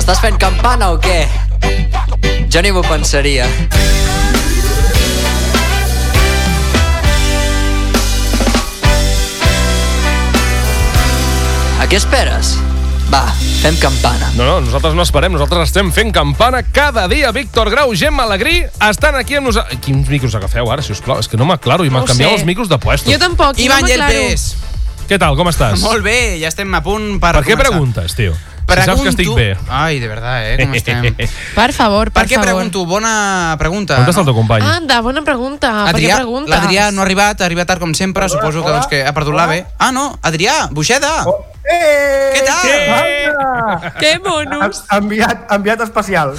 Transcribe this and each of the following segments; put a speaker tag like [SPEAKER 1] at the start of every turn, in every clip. [SPEAKER 1] Estàs fent campana o què? Jo ni m'ho pensaria. A què esperes? Va, fem campana.
[SPEAKER 2] No, no, nosaltres no esperem, nosaltres estem fent campana cada dia. Víctor Grau, Gemma Alegrí, estan aquí amb nosaltres. Quins micros agafeu ara, si us plau? És que no m'aclaro i
[SPEAKER 3] No
[SPEAKER 2] m'han
[SPEAKER 3] ho
[SPEAKER 2] canviat
[SPEAKER 3] sé.
[SPEAKER 2] els micros de puesto.
[SPEAKER 3] Jo tampoc, i
[SPEAKER 4] Ivan
[SPEAKER 3] no m'aclaro.
[SPEAKER 4] Llepés.
[SPEAKER 2] Què tal, com estàs?
[SPEAKER 4] Molt bé, ja estem a punt per,
[SPEAKER 2] Per què
[SPEAKER 4] començar.
[SPEAKER 2] preguntes, tio? Si
[SPEAKER 4] Pregunto...
[SPEAKER 2] saps que estic bé.
[SPEAKER 4] Ai, de verdad, eh, com estem. per,
[SPEAKER 3] Per favor, per,
[SPEAKER 4] què
[SPEAKER 3] favor.
[SPEAKER 4] pregunto? Bona pregunta.
[SPEAKER 2] On està el teu company?
[SPEAKER 3] Anda, bona pregunta.
[SPEAKER 4] Adrià,
[SPEAKER 3] Ah, per què preguntes?
[SPEAKER 4] l'Adrià no ha arribat, arriba tard com sempre, suposo que doncs, que ha perdut l'AVE. Ah, no, Adrià, Buixeda!
[SPEAKER 5] Eh!
[SPEAKER 4] Què tal?
[SPEAKER 5] Anda!
[SPEAKER 3] Que monos.
[SPEAKER 5] Enviat, enviat especial.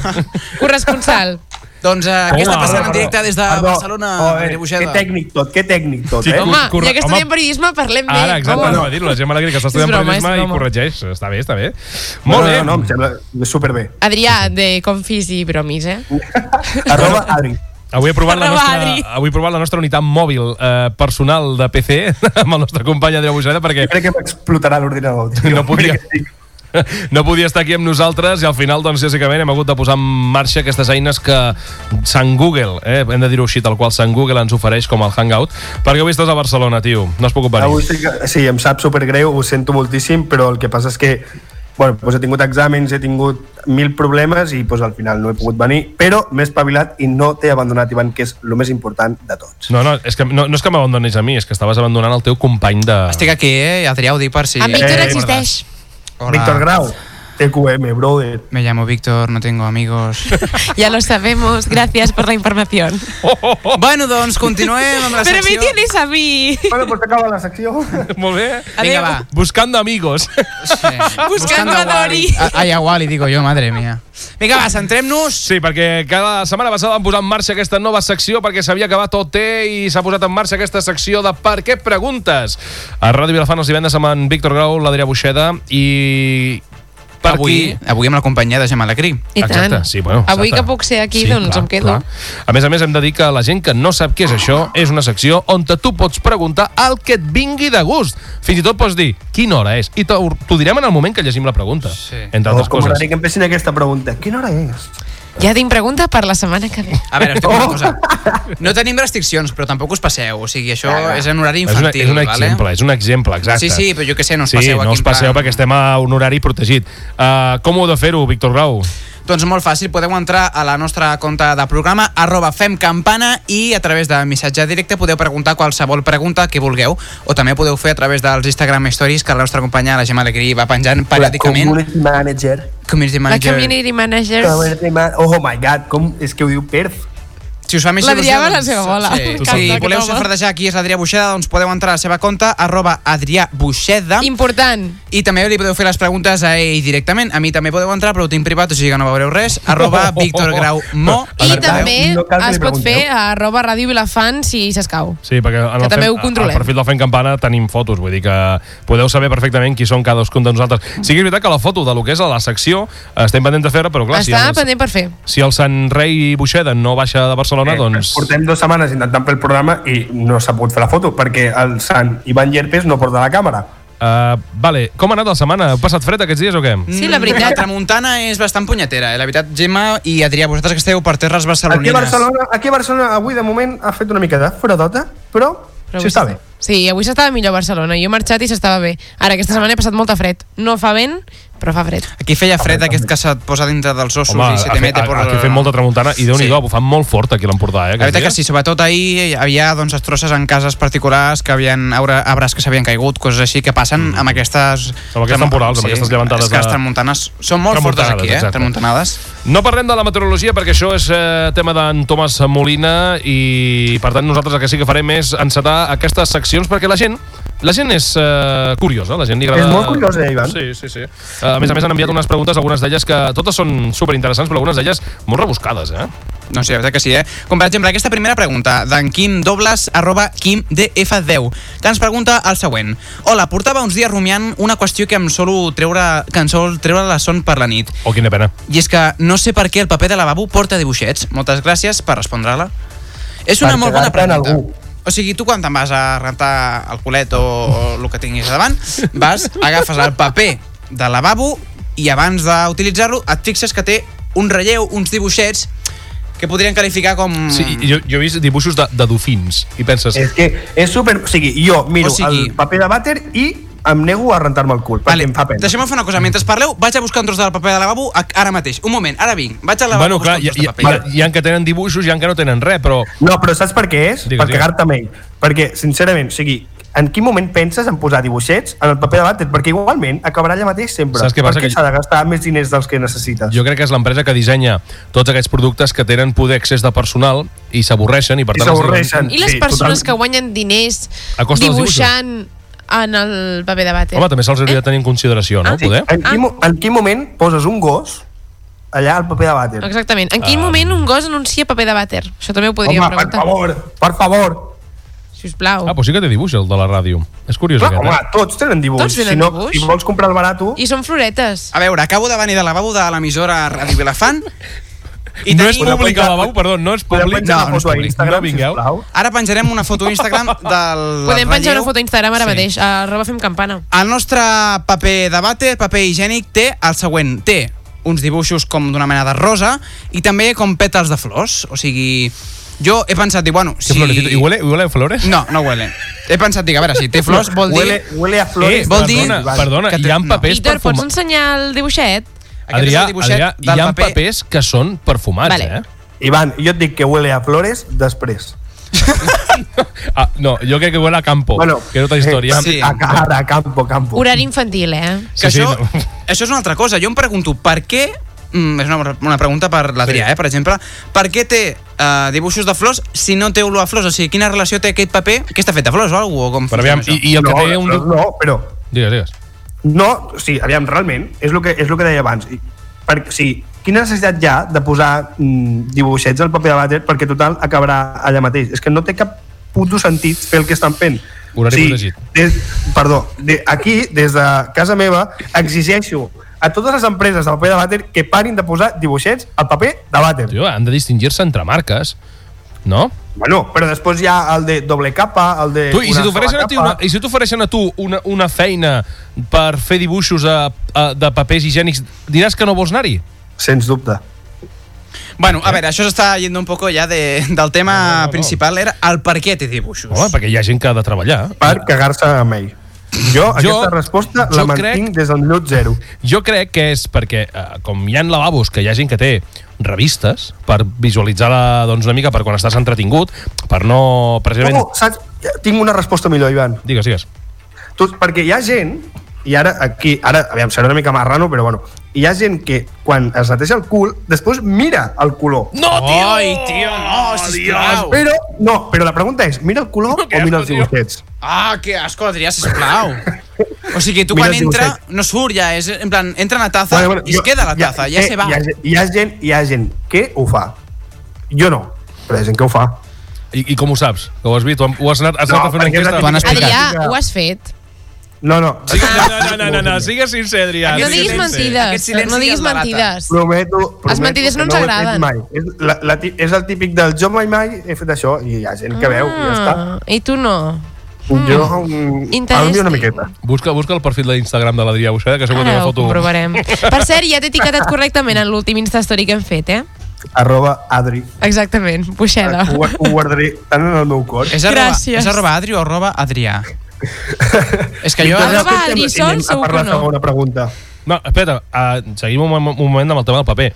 [SPEAKER 3] Corresponsal.
[SPEAKER 4] Doncs eh, què està
[SPEAKER 2] Hola.
[SPEAKER 4] passant en directe des de
[SPEAKER 5] Perdó.
[SPEAKER 4] Barcelona,
[SPEAKER 5] Oh, eh,
[SPEAKER 4] Adrià
[SPEAKER 5] que
[SPEAKER 4] Buixeda?
[SPEAKER 5] tècnic tot, que tècnic tot,
[SPEAKER 2] Sí,
[SPEAKER 5] eh?
[SPEAKER 3] Home,
[SPEAKER 2] Corre-
[SPEAKER 3] ja que
[SPEAKER 2] home. Ah,
[SPEAKER 3] estudiem periodisme, parlem bé.
[SPEAKER 2] Ara, exacte,
[SPEAKER 3] Home.
[SPEAKER 2] anava a dir-ho. La Gemma Alegrí, que està
[SPEAKER 3] És
[SPEAKER 2] estudiant
[SPEAKER 3] broma, és
[SPEAKER 2] periodisme i
[SPEAKER 3] broma.
[SPEAKER 2] corregeix. Està bé, està bé.
[SPEAKER 5] No,
[SPEAKER 2] Molt
[SPEAKER 5] no,
[SPEAKER 2] bé.
[SPEAKER 5] No, no, em sembla superbé.
[SPEAKER 3] Adrià, de confis i bromis, eh?
[SPEAKER 5] Arroba Adri.
[SPEAKER 2] Avui he provat la
[SPEAKER 3] Arroba
[SPEAKER 2] nostra,
[SPEAKER 3] Adri.
[SPEAKER 2] avui he provat la nostra unitat mòbil eh, personal de PC amb el nostre company Adrià Buixeda perquè
[SPEAKER 5] Crec que m'explotarà l'ordinador. tio.
[SPEAKER 2] no podia,
[SPEAKER 5] Crec que sí.
[SPEAKER 2] no podia estar aquí amb nosaltres i al final, doncs, bàsicament hem hagut de posar en marxa aquestes eines que Sant Google, eh, hem de dir-ho així, tal qual Sant Google ens ofereix com el Hangout, perquè avui estàs a Barcelona, tio, no has pogut venir.
[SPEAKER 5] Avui sí, que, sí, em sap supergreu, ho sento moltíssim, però el que passa és que bueno, doncs he tingut exàmens, he tingut mil problemes i doncs, al final no he pogut venir, però m'he espavilat i no t'he abandonat, Ivan, que és el més important de tots.
[SPEAKER 2] No, no, és que, no, no és que m'abandonis a mi, és que estaves abandonant el teu company de...
[SPEAKER 4] Estic aquí, eh? Adrià, ho dic per si...
[SPEAKER 3] En Ah, Víctor
[SPEAKER 5] Eh,
[SPEAKER 3] existeix.
[SPEAKER 4] Hola.
[SPEAKER 5] Víctor Grau, TQM, brother.
[SPEAKER 4] Me llamo Víctor, no tengo amigos.
[SPEAKER 3] Ya lo sabemos, gracias por la información.
[SPEAKER 2] Oh, oh, oh.
[SPEAKER 4] bueno, doncs, continuem amb la
[SPEAKER 3] Pero me
[SPEAKER 4] secció.
[SPEAKER 3] tienes a mí.
[SPEAKER 5] Bueno, pues acaba la secció.
[SPEAKER 2] Molt bé.
[SPEAKER 4] Vinga,
[SPEAKER 3] Adeu.
[SPEAKER 4] va.
[SPEAKER 2] Buscando amigos.
[SPEAKER 4] Sí.
[SPEAKER 3] Buscando a Dory.
[SPEAKER 4] Wall-E. Ah, Ai, a Wally, digo jo, madre mía. Vinga, va, centrem-nos.
[SPEAKER 2] Sí, perquè cada setmana passada van posar en marxa aquesta nova secció perquè s'havia acabat OT i s'ha posat en marxa aquesta secció de Per què preguntes? A Ràdio Vilafant els divendres amb en Víctor Grau, l'Adrià Buixeda i... Per
[SPEAKER 4] avui,
[SPEAKER 2] qui-
[SPEAKER 4] avui amb la companyia de Gemma Lacri.
[SPEAKER 3] I
[SPEAKER 2] Exacte,
[SPEAKER 3] tant.
[SPEAKER 2] Sí, bueno,
[SPEAKER 3] Avui
[SPEAKER 2] exacte.
[SPEAKER 3] que puc ser aquí, doncs em quedo.
[SPEAKER 2] A més a més, hem de dir que la gent que no sap què és això és una secció on tu pots preguntar el que et vingui de gust. Fins i tot pots dir quina hora és. I t'ho t'ho direm en el moment que llegim la pregunta.
[SPEAKER 4] Sí.
[SPEAKER 2] Entre
[SPEAKER 5] Oh,
[SPEAKER 2] altres
[SPEAKER 5] com
[SPEAKER 2] coses.
[SPEAKER 5] m'agradaria que empessin aquesta pregunta. Quina hora és?
[SPEAKER 3] Ja tinc pregunta per la setmana que ve.
[SPEAKER 4] A veure, us dic una cosa.
[SPEAKER 2] Oh!
[SPEAKER 4] No tenim restriccions, però tampoc us passeu. O sigui, això és en horari
[SPEAKER 2] És, una,
[SPEAKER 4] infantil.
[SPEAKER 2] és un
[SPEAKER 4] vale? Ah,
[SPEAKER 2] exemple, és un exemple, exacte.
[SPEAKER 4] Sí, sí, però jo què sé, no us
[SPEAKER 2] sí,
[SPEAKER 4] passeu aquí
[SPEAKER 2] no us
[SPEAKER 4] en
[SPEAKER 2] passeu
[SPEAKER 4] plan-
[SPEAKER 2] perquè estem a un horari protegit. Uh, com ho heu de fer-ho, Víctor Grau?
[SPEAKER 4] Doncs molt fàcil, podeu entrar a la nostra compte de programa arroba femcampana i a través de missatge directe podeu preguntar qualsevol pregunta que vulgueu o també ho podeu fer a través dels Instagram Stories que la nostra companya la Gemma Alegrí va penjant
[SPEAKER 5] La
[SPEAKER 4] periòdicament.
[SPEAKER 5] community manager.
[SPEAKER 4] Community
[SPEAKER 3] La
[SPEAKER 4] Manager.
[SPEAKER 3] community manager.
[SPEAKER 5] Community man oh my god, com és que ho diu perf?
[SPEAKER 4] Si us fa més
[SPEAKER 3] L'Adrià
[SPEAKER 4] il·lusió,
[SPEAKER 3] va a la
[SPEAKER 4] doncs,
[SPEAKER 3] seva bola.
[SPEAKER 4] Sí.
[SPEAKER 2] Total.
[SPEAKER 4] Si
[SPEAKER 2] Total.
[SPEAKER 4] voleu
[SPEAKER 3] Total.
[SPEAKER 4] safardejar qui és l'Adrià Buixeda, doncs podeu entrar a la seva compte, arroba Adrià Buixeda, I...
[SPEAKER 3] Important.
[SPEAKER 4] també li podeu fer les preguntes a ell directament. A mi també podeu entrar, però ho tinc privat, o sigui que no veureu res, arroba Víctor Grau Mo.
[SPEAKER 3] I
[SPEAKER 5] Alerta,
[SPEAKER 3] també
[SPEAKER 5] eh? No cal que li
[SPEAKER 3] es pot
[SPEAKER 5] pregunteu.
[SPEAKER 3] fer a arroba ràdio Vilafant si s'escau.
[SPEAKER 2] Sí, perquè en
[SPEAKER 3] Que
[SPEAKER 2] el,
[SPEAKER 3] també ho
[SPEAKER 2] el
[SPEAKER 3] controlem.
[SPEAKER 2] perfil del Fem Campana tenim fotos, vull dir que podeu saber perfectament qui són cadascun de nosaltres. Sí que és veritat que la foto de lo que és a la secció eh, estem pendents de fer però clar, si
[SPEAKER 3] Està
[SPEAKER 2] el,
[SPEAKER 3] pendent per fer.
[SPEAKER 2] si el Sant Rei Buixeda no baixa de Barcelona,
[SPEAKER 5] Eh,
[SPEAKER 2] doncs...
[SPEAKER 5] Portem dues setmanes intentant fer el programa i no s'ha pogut fer la foto perquè el Sant Ivan Llerpes no porta la càmera.
[SPEAKER 2] Uh, vale, com ha anat la setmana? Heu passat fred aquests dies o què?
[SPEAKER 3] Sí, la veritat.
[SPEAKER 4] La tramuntana és bastant punyetera, eh? la veritat, Gemma i Adrià, vosaltres que esteu per terres
[SPEAKER 5] Aquí a,
[SPEAKER 4] barcelonines.
[SPEAKER 5] Barcelona, aquí a Barcelona avui de moment ha fet una mica de foradota, però,
[SPEAKER 3] Però
[SPEAKER 5] sí
[SPEAKER 3] avui
[SPEAKER 5] està bé.
[SPEAKER 3] Sí, avui s'estava millor a Barcelona. Jo he marxat i s'estava bé. Ara, aquesta setmana he passat molta fred. No fa vent, però fa fred.
[SPEAKER 4] Aquí feia fred aquest que se't posa dintre dels ossos
[SPEAKER 2] Home,
[SPEAKER 4] i se
[SPEAKER 2] ha
[SPEAKER 4] te
[SPEAKER 2] fet,
[SPEAKER 4] mete
[SPEAKER 2] ha,
[SPEAKER 4] por...
[SPEAKER 2] aquí fem molta tramuntana i déu-n'hi-do,
[SPEAKER 4] Sí.
[SPEAKER 2] sí. bufant molt fort aquí a l'Empordà, eh?
[SPEAKER 4] La
[SPEAKER 2] aquests
[SPEAKER 4] veritat que
[SPEAKER 2] dies.
[SPEAKER 4] sí, sobretot ahir hi havia doncs, estrosses en cases particulars que havien aure, arbres que s'havien caigut, coses així que passen amb aquestes...
[SPEAKER 2] Amb Mm. aquests temporals, amb aquestes llevantades
[SPEAKER 4] És que les
[SPEAKER 2] de-
[SPEAKER 4] tramuntanes són molt fortes
[SPEAKER 2] Tramuntanades,
[SPEAKER 4] aquí, eh?
[SPEAKER 2] exacte.
[SPEAKER 4] Tramuntanades.
[SPEAKER 2] No parlem de la meteorologia perquè això és eh, tema d'en Tomàs Molina i per tant nosaltres el que sí que farem és encetar aquestes seccions perquè la gent la gent és eh, curiosa, la gent li agrada...
[SPEAKER 5] És molt curiosa, Ivan.
[SPEAKER 2] Sí, sí, sí. Eh, a més a més han enviat unes preguntes, algunes d'elles que totes són superinteressants, però algunes d'elles molt rebuscades, eh?
[SPEAKER 4] No sé, la veritat que sí, eh? Com per exemple aquesta primera pregunta d'en Quim Dobles, arroba QuimDF10, que ens pregunta el següent. Hola, portava uns dies rumiant una qüestió que em solo treure, que em sol treure la son per la nit.
[SPEAKER 2] Oh, quina pena.
[SPEAKER 4] I és que no sé per què el paper de lavabo porta dibuixets. Moltes gràcies per respondre-la. És una
[SPEAKER 5] Per
[SPEAKER 4] molt bona
[SPEAKER 5] cagar-te en
[SPEAKER 4] pregunta.
[SPEAKER 5] algú.
[SPEAKER 4] O sigui, tu quan te'n vas a rentar el culet o, o el que tinguis davant, vas, agafes el paper de lavabo, i abans d'utilitzar-lo et fixes que té un relleu, uns dibuixets que podrien qualificar com...
[SPEAKER 2] Sí, i jo, jo he vist dibuixos de, de dofins i penses...
[SPEAKER 5] És que és super... O sigui, jo miro
[SPEAKER 4] O
[SPEAKER 5] o
[SPEAKER 4] sigui-
[SPEAKER 5] sigui... el paper de vàter i em nego a rentar-me el cul, perquè vale. em fa pena.
[SPEAKER 4] Deixem-me fer una cosa, mentre parleu, vaig a buscar un tros del paper de lavabo a- ara mateix. Un moment, ara vinc, vaig al lavabo
[SPEAKER 2] bueno,
[SPEAKER 4] a buscar
[SPEAKER 2] clar,
[SPEAKER 4] un
[SPEAKER 2] hi,
[SPEAKER 4] tros
[SPEAKER 2] hi,
[SPEAKER 4] de
[SPEAKER 2] hi,
[SPEAKER 4] paper.
[SPEAKER 2] hi ha que tenen dibuixos, hi ha que no tenen res, però...
[SPEAKER 5] No, però saps per què
[SPEAKER 2] Digues,
[SPEAKER 5] és? Digues, per
[SPEAKER 2] digues.
[SPEAKER 5] cagar-te amb ell. Perquè, sincerament, o sigui, en quin moment penses en posar dibuixets en el paper de vàter? Perquè igualment acabarà allà mateix sempre.
[SPEAKER 2] Saps què passa?
[SPEAKER 5] Perquè
[SPEAKER 2] Que-
[SPEAKER 5] s'ha de gastar més diners dels que necessites.
[SPEAKER 2] Jo crec que és l'empresa que dissenya tots aquests productes que tenen poder accés de personal i s'avorreixen i per
[SPEAKER 5] I
[SPEAKER 2] tant... es diuen-
[SPEAKER 5] s'avorreixen.
[SPEAKER 3] I les
[SPEAKER 5] Sí,
[SPEAKER 3] persones
[SPEAKER 5] totalment.
[SPEAKER 3] que guanyen diners
[SPEAKER 2] A costa dels
[SPEAKER 3] dibuixant en el paper de vàter?
[SPEAKER 2] Home, també se'ls hauria de tenir en consideració, no? eh?
[SPEAKER 3] Ah, sí.
[SPEAKER 2] Poder?
[SPEAKER 5] En quin, mo- en quin moment poses un gos allà al paper de vàter?
[SPEAKER 3] Exactament. En quin moment un gos anuncia paper de vàter? Això també ho podríem
[SPEAKER 5] Ah. Home, per
[SPEAKER 3] preguntar.
[SPEAKER 5] favor, per favor.
[SPEAKER 3] Si us plau.
[SPEAKER 2] Ah, però sí que té dibuix, el de la ràdio. És curiós,
[SPEAKER 5] Clar,
[SPEAKER 2] aquest,
[SPEAKER 5] home,
[SPEAKER 2] eh?
[SPEAKER 5] tots tenen dibuix.
[SPEAKER 3] Tots tenen
[SPEAKER 5] si no,
[SPEAKER 3] dibuix.
[SPEAKER 5] Si vols comprar el barato...
[SPEAKER 3] I són floretes.
[SPEAKER 5] Ah,
[SPEAKER 4] A veure, acabo de venir del lavabo de l'emissora Ràdio Vilafant i
[SPEAKER 2] no és
[SPEAKER 4] tenim-
[SPEAKER 2] públic,
[SPEAKER 5] penjar-
[SPEAKER 2] el lavabo, perdó, no és
[SPEAKER 5] Podem
[SPEAKER 2] públic.
[SPEAKER 5] penjar
[SPEAKER 4] no,
[SPEAKER 5] una
[SPEAKER 4] no és
[SPEAKER 5] foto a
[SPEAKER 2] públic.
[SPEAKER 5] Instagram,
[SPEAKER 2] No vingueu.
[SPEAKER 5] sisplau.
[SPEAKER 4] Ara penjarem una foto a Instagram del
[SPEAKER 3] Podem penjar una
[SPEAKER 4] relleu.
[SPEAKER 3] foto a Instagram ara
[SPEAKER 2] Sí.
[SPEAKER 3] mateix. Arroba fem campana.
[SPEAKER 4] El nostre paper de vàter, paper higiènic, té el següent. Té uns dibuixos com d'una mena de rosa i també com pètals de flors. O sigui, jo he pensat, dic, bueno,
[SPEAKER 2] Que
[SPEAKER 4] si...
[SPEAKER 2] florecito. I huele, huele a eh, flores?
[SPEAKER 4] No, no huele. He pensat, dic, a veure, si té flors vol dir...
[SPEAKER 5] Huele, huele a
[SPEAKER 2] Eh,
[SPEAKER 5] flores.
[SPEAKER 4] vol dir-
[SPEAKER 2] perdona, perdona,
[SPEAKER 4] que te-
[SPEAKER 2] hi ha
[SPEAKER 4] no.
[SPEAKER 2] papers
[SPEAKER 3] Víctor, pots
[SPEAKER 2] perfumats.
[SPEAKER 3] ensenyar el dibuixet?
[SPEAKER 4] Aquest és el
[SPEAKER 2] Adrià,
[SPEAKER 4] dibuixet
[SPEAKER 2] Adrià, hi
[SPEAKER 4] del
[SPEAKER 2] ha papers que són perfumats,
[SPEAKER 3] Vale.
[SPEAKER 2] eh?
[SPEAKER 5] Ivan, jo et dic que huele a flores després.
[SPEAKER 2] Ah, no, jo crec que huele a campo,
[SPEAKER 5] Bueno, eh,
[SPEAKER 2] que és otra història.
[SPEAKER 4] sí.
[SPEAKER 5] A cara, a campo, campo.
[SPEAKER 3] Horari infantil, eh?
[SPEAKER 4] Que
[SPEAKER 2] Sí, sí,
[SPEAKER 4] això,
[SPEAKER 2] no.
[SPEAKER 4] això és una altra cosa. Jo em pregunto per què... Mm, és una, una pregunta per l'Adrià, eh, per exemple. Per què té eh, dibuixos de flors si no té olor a flors? O sigui, quina relació té aquest paper? Que està fet de flors o alguna cosa? Com
[SPEAKER 2] Però aviam,
[SPEAKER 4] funciona això?
[SPEAKER 2] i, i el que
[SPEAKER 5] no,
[SPEAKER 2] té un...
[SPEAKER 5] però, no, però...
[SPEAKER 2] Digues, digues.
[SPEAKER 5] No, o sigui, aviam, realment, és el que, és el que deia abans. I- Per, o sigui, quina necessitat hi ha de posar mm, dibuixets al paper de vàter perquè total acabarà allà mateix? És que no té cap puto sentit fer el que estan fent.
[SPEAKER 2] Horari protegit.
[SPEAKER 5] Des, perdó, de, aquí, des de casa meva, exigeixo a totes les empreses de paper de vàter que parin de posar dibuixets al paper de vàter.
[SPEAKER 2] Tio, han de distingir-se entre marques, no?
[SPEAKER 5] Bueno, però després hi ha el de doble capa, el de...
[SPEAKER 2] Tu, i, si
[SPEAKER 5] Eh, una
[SPEAKER 2] t'ofereixen
[SPEAKER 5] sola
[SPEAKER 2] a tu una,
[SPEAKER 5] capa.
[SPEAKER 2] I si t'ofereixen a tu una, una feina per fer dibuixos a, a, de papers higiènics, diràs que no vols anar-hi?
[SPEAKER 5] Sens dubte.
[SPEAKER 4] Bueno, a veure, això s'està yendo un poco ja de, del tema no, no, no. principal, era el per què té dibuixos.
[SPEAKER 2] Home, perquè hi ha gent que ha de treballar.
[SPEAKER 5] Per cagar-se amb ell. Jo, aquesta resposta
[SPEAKER 2] jo
[SPEAKER 5] la mantinc
[SPEAKER 2] crec-
[SPEAKER 5] des del minut zero.
[SPEAKER 2] Jo crec que és perquè, eh, com hi ha lavabos que hi ha gent que té revistes per visualitzar la, doncs, una mica per quan estàs entretingut, per no... Precisament...
[SPEAKER 5] Oh, saps? Tinc una resposta millor, Ivan.
[SPEAKER 2] Digues, digues.
[SPEAKER 5] Tu, perquè hi ha gent, i ara aquí, ara, aviam, serà una mica marrano, però bueno, hi ha gent que quan es neteja el cul, després mira el color.
[SPEAKER 2] No, tio!
[SPEAKER 4] Ai, tio, no, sisplau!
[SPEAKER 5] Però, no, però la pregunta és, mira el color
[SPEAKER 2] que
[SPEAKER 5] o
[SPEAKER 2] asco,
[SPEAKER 5] mira els
[SPEAKER 2] tio.
[SPEAKER 5] dibuixets?
[SPEAKER 4] Ah, que asco, Adrià, sisplau! O sigui, tu
[SPEAKER 5] Mira
[SPEAKER 4] quan
[SPEAKER 5] el
[SPEAKER 4] entra,
[SPEAKER 5] dibuixet.
[SPEAKER 4] no surt ja, és, en plan, entra en la taza bueno, bueno, i es
[SPEAKER 5] jo-
[SPEAKER 4] queda a la taza, ja, ja
[SPEAKER 5] eh,
[SPEAKER 4] se va.
[SPEAKER 5] Hi ha, gent- hi, ha gent, hi ha gent que ho fa. Jo no, però hi ha gent que ho fa.
[SPEAKER 2] I, I com ho saps? Que ho has vist? Ho hem- Ho has anat, has
[SPEAKER 5] No,
[SPEAKER 2] anat a fer una
[SPEAKER 5] perquè és
[SPEAKER 2] enquesta?
[SPEAKER 5] la
[SPEAKER 4] T'ho han explicat.
[SPEAKER 3] Adrià, ho has fet.
[SPEAKER 5] No, no.
[SPEAKER 2] Sí, no, no, no, no, no, no, sigue sincer, Adrià.
[SPEAKER 3] No
[SPEAKER 4] Aquest
[SPEAKER 3] diguis
[SPEAKER 4] silenci- aquest
[SPEAKER 3] mentides.
[SPEAKER 4] silenci
[SPEAKER 3] No diguis
[SPEAKER 4] es delata.
[SPEAKER 3] mentides.
[SPEAKER 5] Prometo, prometo
[SPEAKER 3] Les mentides
[SPEAKER 5] que
[SPEAKER 3] no ens
[SPEAKER 5] ho he fet
[SPEAKER 3] agraden.
[SPEAKER 5] Mai. És, la, la, ti- és el típic del jo mai mai he fet això i hi ha gent que veu i ja està.
[SPEAKER 3] Ah, I tu no.
[SPEAKER 5] Jo, mm, a mi
[SPEAKER 3] Interesting.
[SPEAKER 5] una miqueta.
[SPEAKER 2] Busca, busca el perfil d'Instagram de l'Adrià Buixeda, que segur que té
[SPEAKER 3] Ara
[SPEAKER 2] una
[SPEAKER 3] Ah, ho
[SPEAKER 2] foto...
[SPEAKER 3] comprovarem. Per cert, ja t'he etiquetat correctament en l'últim Instastory que hem fet, eh?
[SPEAKER 5] Arroba Adri.
[SPEAKER 3] Exactament, Buixeda.
[SPEAKER 5] Ah, Ho, ho guardaré tant en el meu cor.
[SPEAKER 4] És arroba,
[SPEAKER 3] Gràcies.
[SPEAKER 4] és arroba Adri o arroba Adrià. és que jo...
[SPEAKER 5] Doncs
[SPEAKER 3] Arroba
[SPEAKER 5] escoltem,
[SPEAKER 3] Adri
[SPEAKER 5] i
[SPEAKER 3] Sol,
[SPEAKER 5] anem a
[SPEAKER 3] segur
[SPEAKER 5] per la
[SPEAKER 3] que no.
[SPEAKER 5] segona pregunta.
[SPEAKER 2] No, espera, uh, seguim un, mom- un moment amb el tema del paper.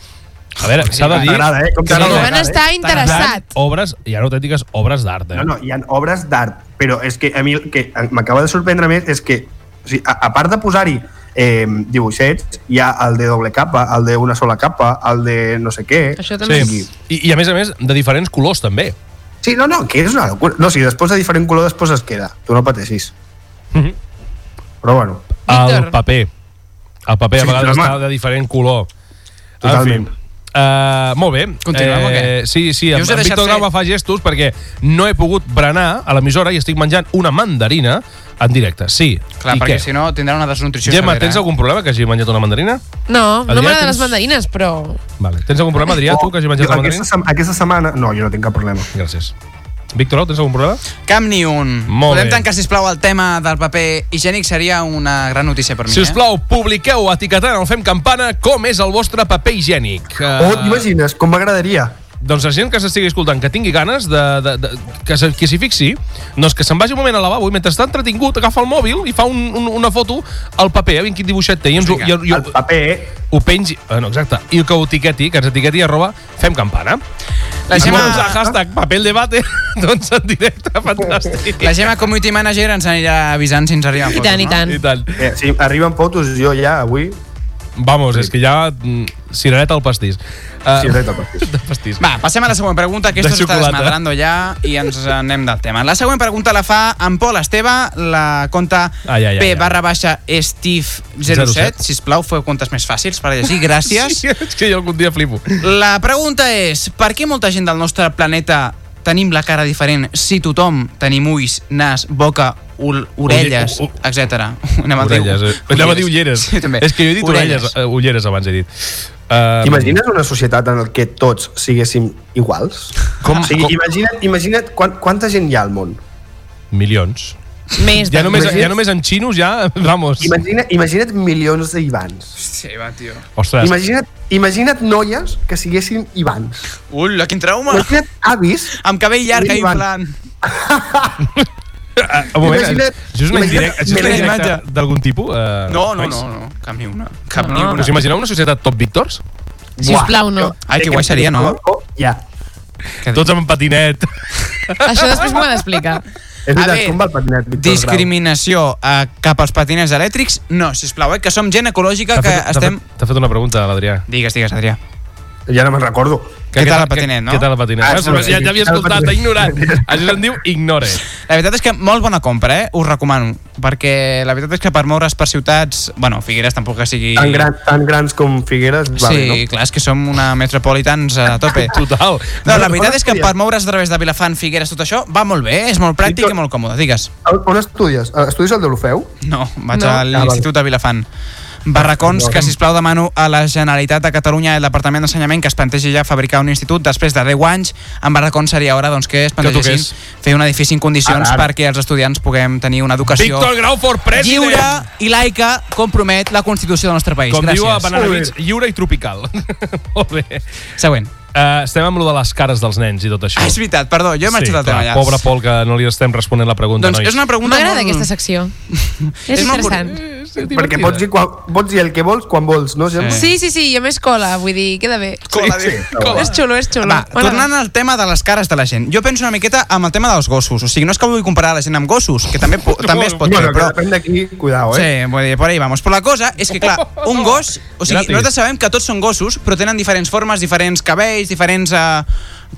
[SPEAKER 2] A veure, s'ha de dir...
[SPEAKER 5] T'agrada, eh? Com
[SPEAKER 2] que
[SPEAKER 5] t'agrada,
[SPEAKER 2] no-
[SPEAKER 3] Van
[SPEAKER 5] t'agrada, eh?
[SPEAKER 3] estar interessats.
[SPEAKER 2] Obres, hi ha autèntiques obres d'art, eh?
[SPEAKER 5] No, no, hi ha obres d'art, però és que a mi el que m'acaba de sorprendre més és que, o sigui, a, a part de posar-hi eh, dibuixets, hi ha el de doble capa, el de una sola capa, el de no sé què...
[SPEAKER 3] Això també
[SPEAKER 2] Sí.
[SPEAKER 3] és...
[SPEAKER 2] I, I a més a més, de diferents colors, també.
[SPEAKER 5] Sí, no, no, que és una locura. No, si després de diferent color després es queda. Tu no pateixis.
[SPEAKER 2] Mhm.
[SPEAKER 5] Però bueno,
[SPEAKER 2] El
[SPEAKER 3] Víctor.
[SPEAKER 2] paper. El paper a
[SPEAKER 5] Sí,
[SPEAKER 2] vegades
[SPEAKER 5] home.
[SPEAKER 2] està de diferent color.
[SPEAKER 5] Totalment.
[SPEAKER 2] Uh, molt bé. Eh,
[SPEAKER 4] Continuem o què?
[SPEAKER 2] Sí, sí,
[SPEAKER 4] Jo
[SPEAKER 2] en,
[SPEAKER 4] us he
[SPEAKER 2] en
[SPEAKER 4] deixat
[SPEAKER 2] Víctor Grau
[SPEAKER 4] fer-
[SPEAKER 2] va fa gestos perquè no he pogut berenar a l'emissora i estic menjant una mandarina en directe. Sí.
[SPEAKER 4] Clar,
[SPEAKER 2] I
[SPEAKER 4] perquè
[SPEAKER 2] què?
[SPEAKER 4] si no tindrà una desnutrició
[SPEAKER 2] Gemma,
[SPEAKER 4] severa.
[SPEAKER 2] tens
[SPEAKER 4] eh?
[SPEAKER 2] algun problema que hagi menjat una mandarina?
[SPEAKER 3] No, no
[SPEAKER 2] Adrià,
[SPEAKER 3] m'agraden
[SPEAKER 2] tens-
[SPEAKER 3] les mandarines, però...
[SPEAKER 2] Vale. Tens algun problema, Adrià, tu, Oh, que hagi
[SPEAKER 5] jo
[SPEAKER 2] menjat una
[SPEAKER 5] aquesta,
[SPEAKER 2] mandarina?
[SPEAKER 5] sem aquesta setmana... No, jo no tinc cap problema.
[SPEAKER 2] Gràcies. Víctor, tens algun problema?
[SPEAKER 4] Cap ni un.
[SPEAKER 2] Molt
[SPEAKER 4] Podem
[SPEAKER 2] bé.
[SPEAKER 4] tancar, sisplau, el tema del paper higiènic. Seria una gran notícia per mi. eh?
[SPEAKER 2] Si us plau, publiqueu etiquetant el Fem Campana com és el vostre paper higiènic.
[SPEAKER 5] Oh, t'imagines, com m'agradaria.
[SPEAKER 2] Doncs la gent que s'estigui escoltant, que tingui ganes de, de, de que, se, que s'hi fixi, doncs que se'n vagi un moment al lavabo i mentre està entretingut agafa el mòbil i fa un, un, una foto al paper, a veure quin dibuixet té, i, ens, ho- i, i,
[SPEAKER 5] El
[SPEAKER 2] ho,
[SPEAKER 5] paper, eh?
[SPEAKER 2] ho pengi... Ah, no, exacte. I que ho etiqueti, que ens etiqueti arroba Fem Campana.
[SPEAKER 4] La
[SPEAKER 2] La Gemma...
[SPEAKER 4] Gemma-
[SPEAKER 2] Doncs el hashtag papel debate, doncs en directe, fantàstic.
[SPEAKER 4] La Gemma Community Manager ens anirà avisant si ens arriben
[SPEAKER 3] I tant, i tant.
[SPEAKER 2] I tant.
[SPEAKER 5] eh si arriben fotos, jo ja avui...
[SPEAKER 2] Vamos, és que ja... mm, Cirereta al pastís. Uh,
[SPEAKER 5] Sí, exacte, perquè-
[SPEAKER 2] de pastís.
[SPEAKER 4] Va, passem a la següent pregunta, que
[SPEAKER 2] De
[SPEAKER 4] esto s'està
[SPEAKER 2] xocolata.
[SPEAKER 4] desmadrando ja i ens anem del tema. La següent pregunta la fa en Pol Esteve, la conta
[SPEAKER 2] Ai, ai, ai, ai.
[SPEAKER 4] P barra baixa Steve07.
[SPEAKER 2] 07.
[SPEAKER 4] Sisplau, feu comptes més fàcils per llegir, gràcies.
[SPEAKER 2] Sí, és que jo algun dia flipo.
[SPEAKER 4] La pregunta és, per què molta gent del nostre planeta tenim la cara diferent si tothom tenim ulls, nas, boca, ul, orelles,
[SPEAKER 2] u- u-
[SPEAKER 4] etc.
[SPEAKER 2] Orelles. eh? Anava a dir ulleres.
[SPEAKER 4] Sí, també.
[SPEAKER 2] És que jo he dit orelles, eh, ulleres abans he dit. Uh,
[SPEAKER 5] T'imagines una societat en què tots siguéssim iguals?
[SPEAKER 2] Com-
[SPEAKER 5] o sigui,
[SPEAKER 2] Ah. com-
[SPEAKER 5] Imagina't, imagina't quan, quanta gent hi ha al món.
[SPEAKER 2] Milions.
[SPEAKER 3] Més
[SPEAKER 2] Ja
[SPEAKER 3] de-
[SPEAKER 2] només, ja només en xinos, ja, vamos.
[SPEAKER 5] Imagina, imagina't milions d'Ivans.
[SPEAKER 4] Sí, va, tio.
[SPEAKER 2] Ostres,
[SPEAKER 5] Imagina't, imagina't noies que siguessin Ivans.
[SPEAKER 4] Ul, quin trauma.
[SPEAKER 5] Imagina't avis.
[SPEAKER 4] Amb cabell llarg, ahir, en
[SPEAKER 5] Ivan.
[SPEAKER 4] plan...
[SPEAKER 2] Ah, un moment,
[SPEAKER 5] imagina't-
[SPEAKER 2] això és una
[SPEAKER 5] imagina't
[SPEAKER 2] indirecta, això és una
[SPEAKER 5] Milena
[SPEAKER 2] indirecta
[SPEAKER 4] Imatge.
[SPEAKER 2] d'algun tipus? Uh,
[SPEAKER 4] No, no, no, no, cap ni una. Cap ni una.
[SPEAKER 2] Us Ah. imagineu una societat top Víctors?
[SPEAKER 3] Sisplau, no.
[SPEAKER 4] Ai, que guai seria, no?
[SPEAKER 5] Ja.
[SPEAKER 2] Tots amb patinet.
[SPEAKER 3] Això després m'ho ha d'explicar.
[SPEAKER 5] És
[SPEAKER 4] A
[SPEAKER 5] veritat,
[SPEAKER 4] veure,
[SPEAKER 5] com va el patinet, Víctor
[SPEAKER 4] Discriminació eh, cap als patinets elèctrics? No, sisplau, eh, que som gent ecològica,
[SPEAKER 2] T'ha
[SPEAKER 4] que
[SPEAKER 2] fet- t'ha
[SPEAKER 4] estem...
[SPEAKER 2] fet- T'ha fet una pregunta, l'Adrià.
[SPEAKER 4] Digues, digues, Adrià.
[SPEAKER 5] Grau? Ja no me'n recordo.
[SPEAKER 4] Què tal el patinet, no?
[SPEAKER 2] Què tal el patinet?
[SPEAKER 5] Ah,
[SPEAKER 2] Ah,
[SPEAKER 5] sí, sí.
[SPEAKER 2] ja ja havia
[SPEAKER 5] Què tal el
[SPEAKER 2] escoltat, t'ha
[SPEAKER 5] patinet?
[SPEAKER 2] ignorat. Això se'n diu ignore.
[SPEAKER 4] La veritat és que molt bona compra, eh? Us recomano. Perquè la veritat és que per moure's per ciutats... Bueno, Figueres tampoc que sigui...
[SPEAKER 5] Tan, gran, tan grans com Figueres,
[SPEAKER 4] Sí,
[SPEAKER 5] va bé, no?
[SPEAKER 4] clar, és que som una metropolitans eh, a tope.
[SPEAKER 2] Total.
[SPEAKER 4] No, la veritat és que
[SPEAKER 5] estudies?
[SPEAKER 4] per moure's a través de Vilafant, Figueres, tot això, va molt bé, eh? és molt pràctic
[SPEAKER 5] Víctor-
[SPEAKER 4] i molt còmode. Digues.
[SPEAKER 5] On estudies? Eh, Estudies al de l'Ofeu?
[SPEAKER 4] No, vaig
[SPEAKER 3] No.
[SPEAKER 4] no. a l'Institut de Vilafant. Barracons que, sisplau, demano a la Generalitat de Catalunya i al Departament d'Ensenyament que es plantegi ja fabricar un institut després de 10 anys. En barracons seria hora doncs, que es plantegessin
[SPEAKER 2] toqués.
[SPEAKER 4] fer un edifici en condicions
[SPEAKER 5] Ara, ara.
[SPEAKER 4] perquè els estudiants puguem tenir una educació
[SPEAKER 2] Víctor Grau for president.
[SPEAKER 4] lliure i laica compromet la Constitució del nostre país.
[SPEAKER 2] Com
[SPEAKER 4] Gràcies.
[SPEAKER 2] diu a Banana
[SPEAKER 5] Molt bé.
[SPEAKER 2] Beach, lliure i tropical. Molt bé.
[SPEAKER 4] Següent.
[SPEAKER 2] Uh, estem amb lo de les cares dels nens i tot això.
[SPEAKER 4] Ah, és veritat, perdó, jo he marxat del tema
[SPEAKER 2] clar,
[SPEAKER 4] ja.
[SPEAKER 2] Pobre Pol, que no li estem responent la pregunta,
[SPEAKER 4] Doncs
[SPEAKER 2] nois.
[SPEAKER 4] és una pregunta
[SPEAKER 3] M'agrada
[SPEAKER 4] molt...
[SPEAKER 3] aquesta secció. És
[SPEAKER 4] molt
[SPEAKER 3] interessant.
[SPEAKER 5] Perquè pots dir, quan, pots dir el que vols quan vols, no, Gemma?
[SPEAKER 4] Sí.
[SPEAKER 3] Sí, sí, sí, jo més cola, vull dir, queda bé.
[SPEAKER 4] Cola,
[SPEAKER 5] sí.
[SPEAKER 4] diu.
[SPEAKER 5] Cola.
[SPEAKER 3] És xulo, és xulo.
[SPEAKER 4] Va, tornant al tema de les cares de la gent. Jo penso una miqueta amb el tema dels gossos. O sigui, no és que vull comparar la gent amb gossos, que també, po- també es pot fer,
[SPEAKER 5] Bueno, però...
[SPEAKER 4] però...
[SPEAKER 5] depèn d'aquí, cuidao, eh?
[SPEAKER 4] Sí, vull dir, por ahí vamos. Però la cosa és que, clar, un gos... O sigui,
[SPEAKER 2] Oh! Gratis.
[SPEAKER 4] nosaltres sabem que tots són gossos, però tenen diferents formes, diferents cabells, diferents eh,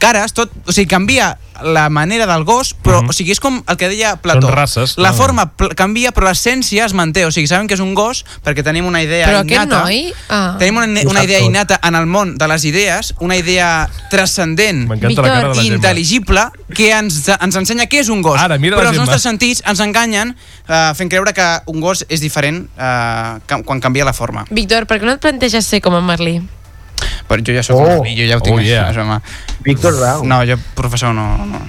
[SPEAKER 4] cares, tot... O sigui, canvia la manera del gos, però, o sigui, és com el que deia Plató.
[SPEAKER 2] Mhm. Són races,
[SPEAKER 4] La
[SPEAKER 2] clar.
[SPEAKER 4] forma pl- canvia, però l'essència es manté. O sigui, sabem que és un gos, perquè tenim una idea
[SPEAKER 3] Però aquest
[SPEAKER 4] innata.
[SPEAKER 3] noi, ah.
[SPEAKER 4] Tenim una, una
[SPEAKER 5] sap
[SPEAKER 4] idea
[SPEAKER 5] tot.
[SPEAKER 4] innata en el món de les idees, una idea transcendent
[SPEAKER 2] M'encanta la cara de la eh? Gemma.
[SPEAKER 4] intel·ligible que ens, ens ensenya què és un gos.
[SPEAKER 2] Ara, mira la
[SPEAKER 4] però els
[SPEAKER 2] Gemma.
[SPEAKER 4] nostres sentits ens enganyen eh, fent creure que un gos és diferent eh, ca- quan canvia la forma.
[SPEAKER 3] Víctor, per què no et planteges ser com en Merlí?
[SPEAKER 4] Però jo ja soc
[SPEAKER 5] Oh.
[SPEAKER 4] un Merlí, jo ja ho tinc.
[SPEAKER 2] Oh, yeah.
[SPEAKER 4] això, home.
[SPEAKER 5] Víctor Grau.
[SPEAKER 4] No, jo professor no... no.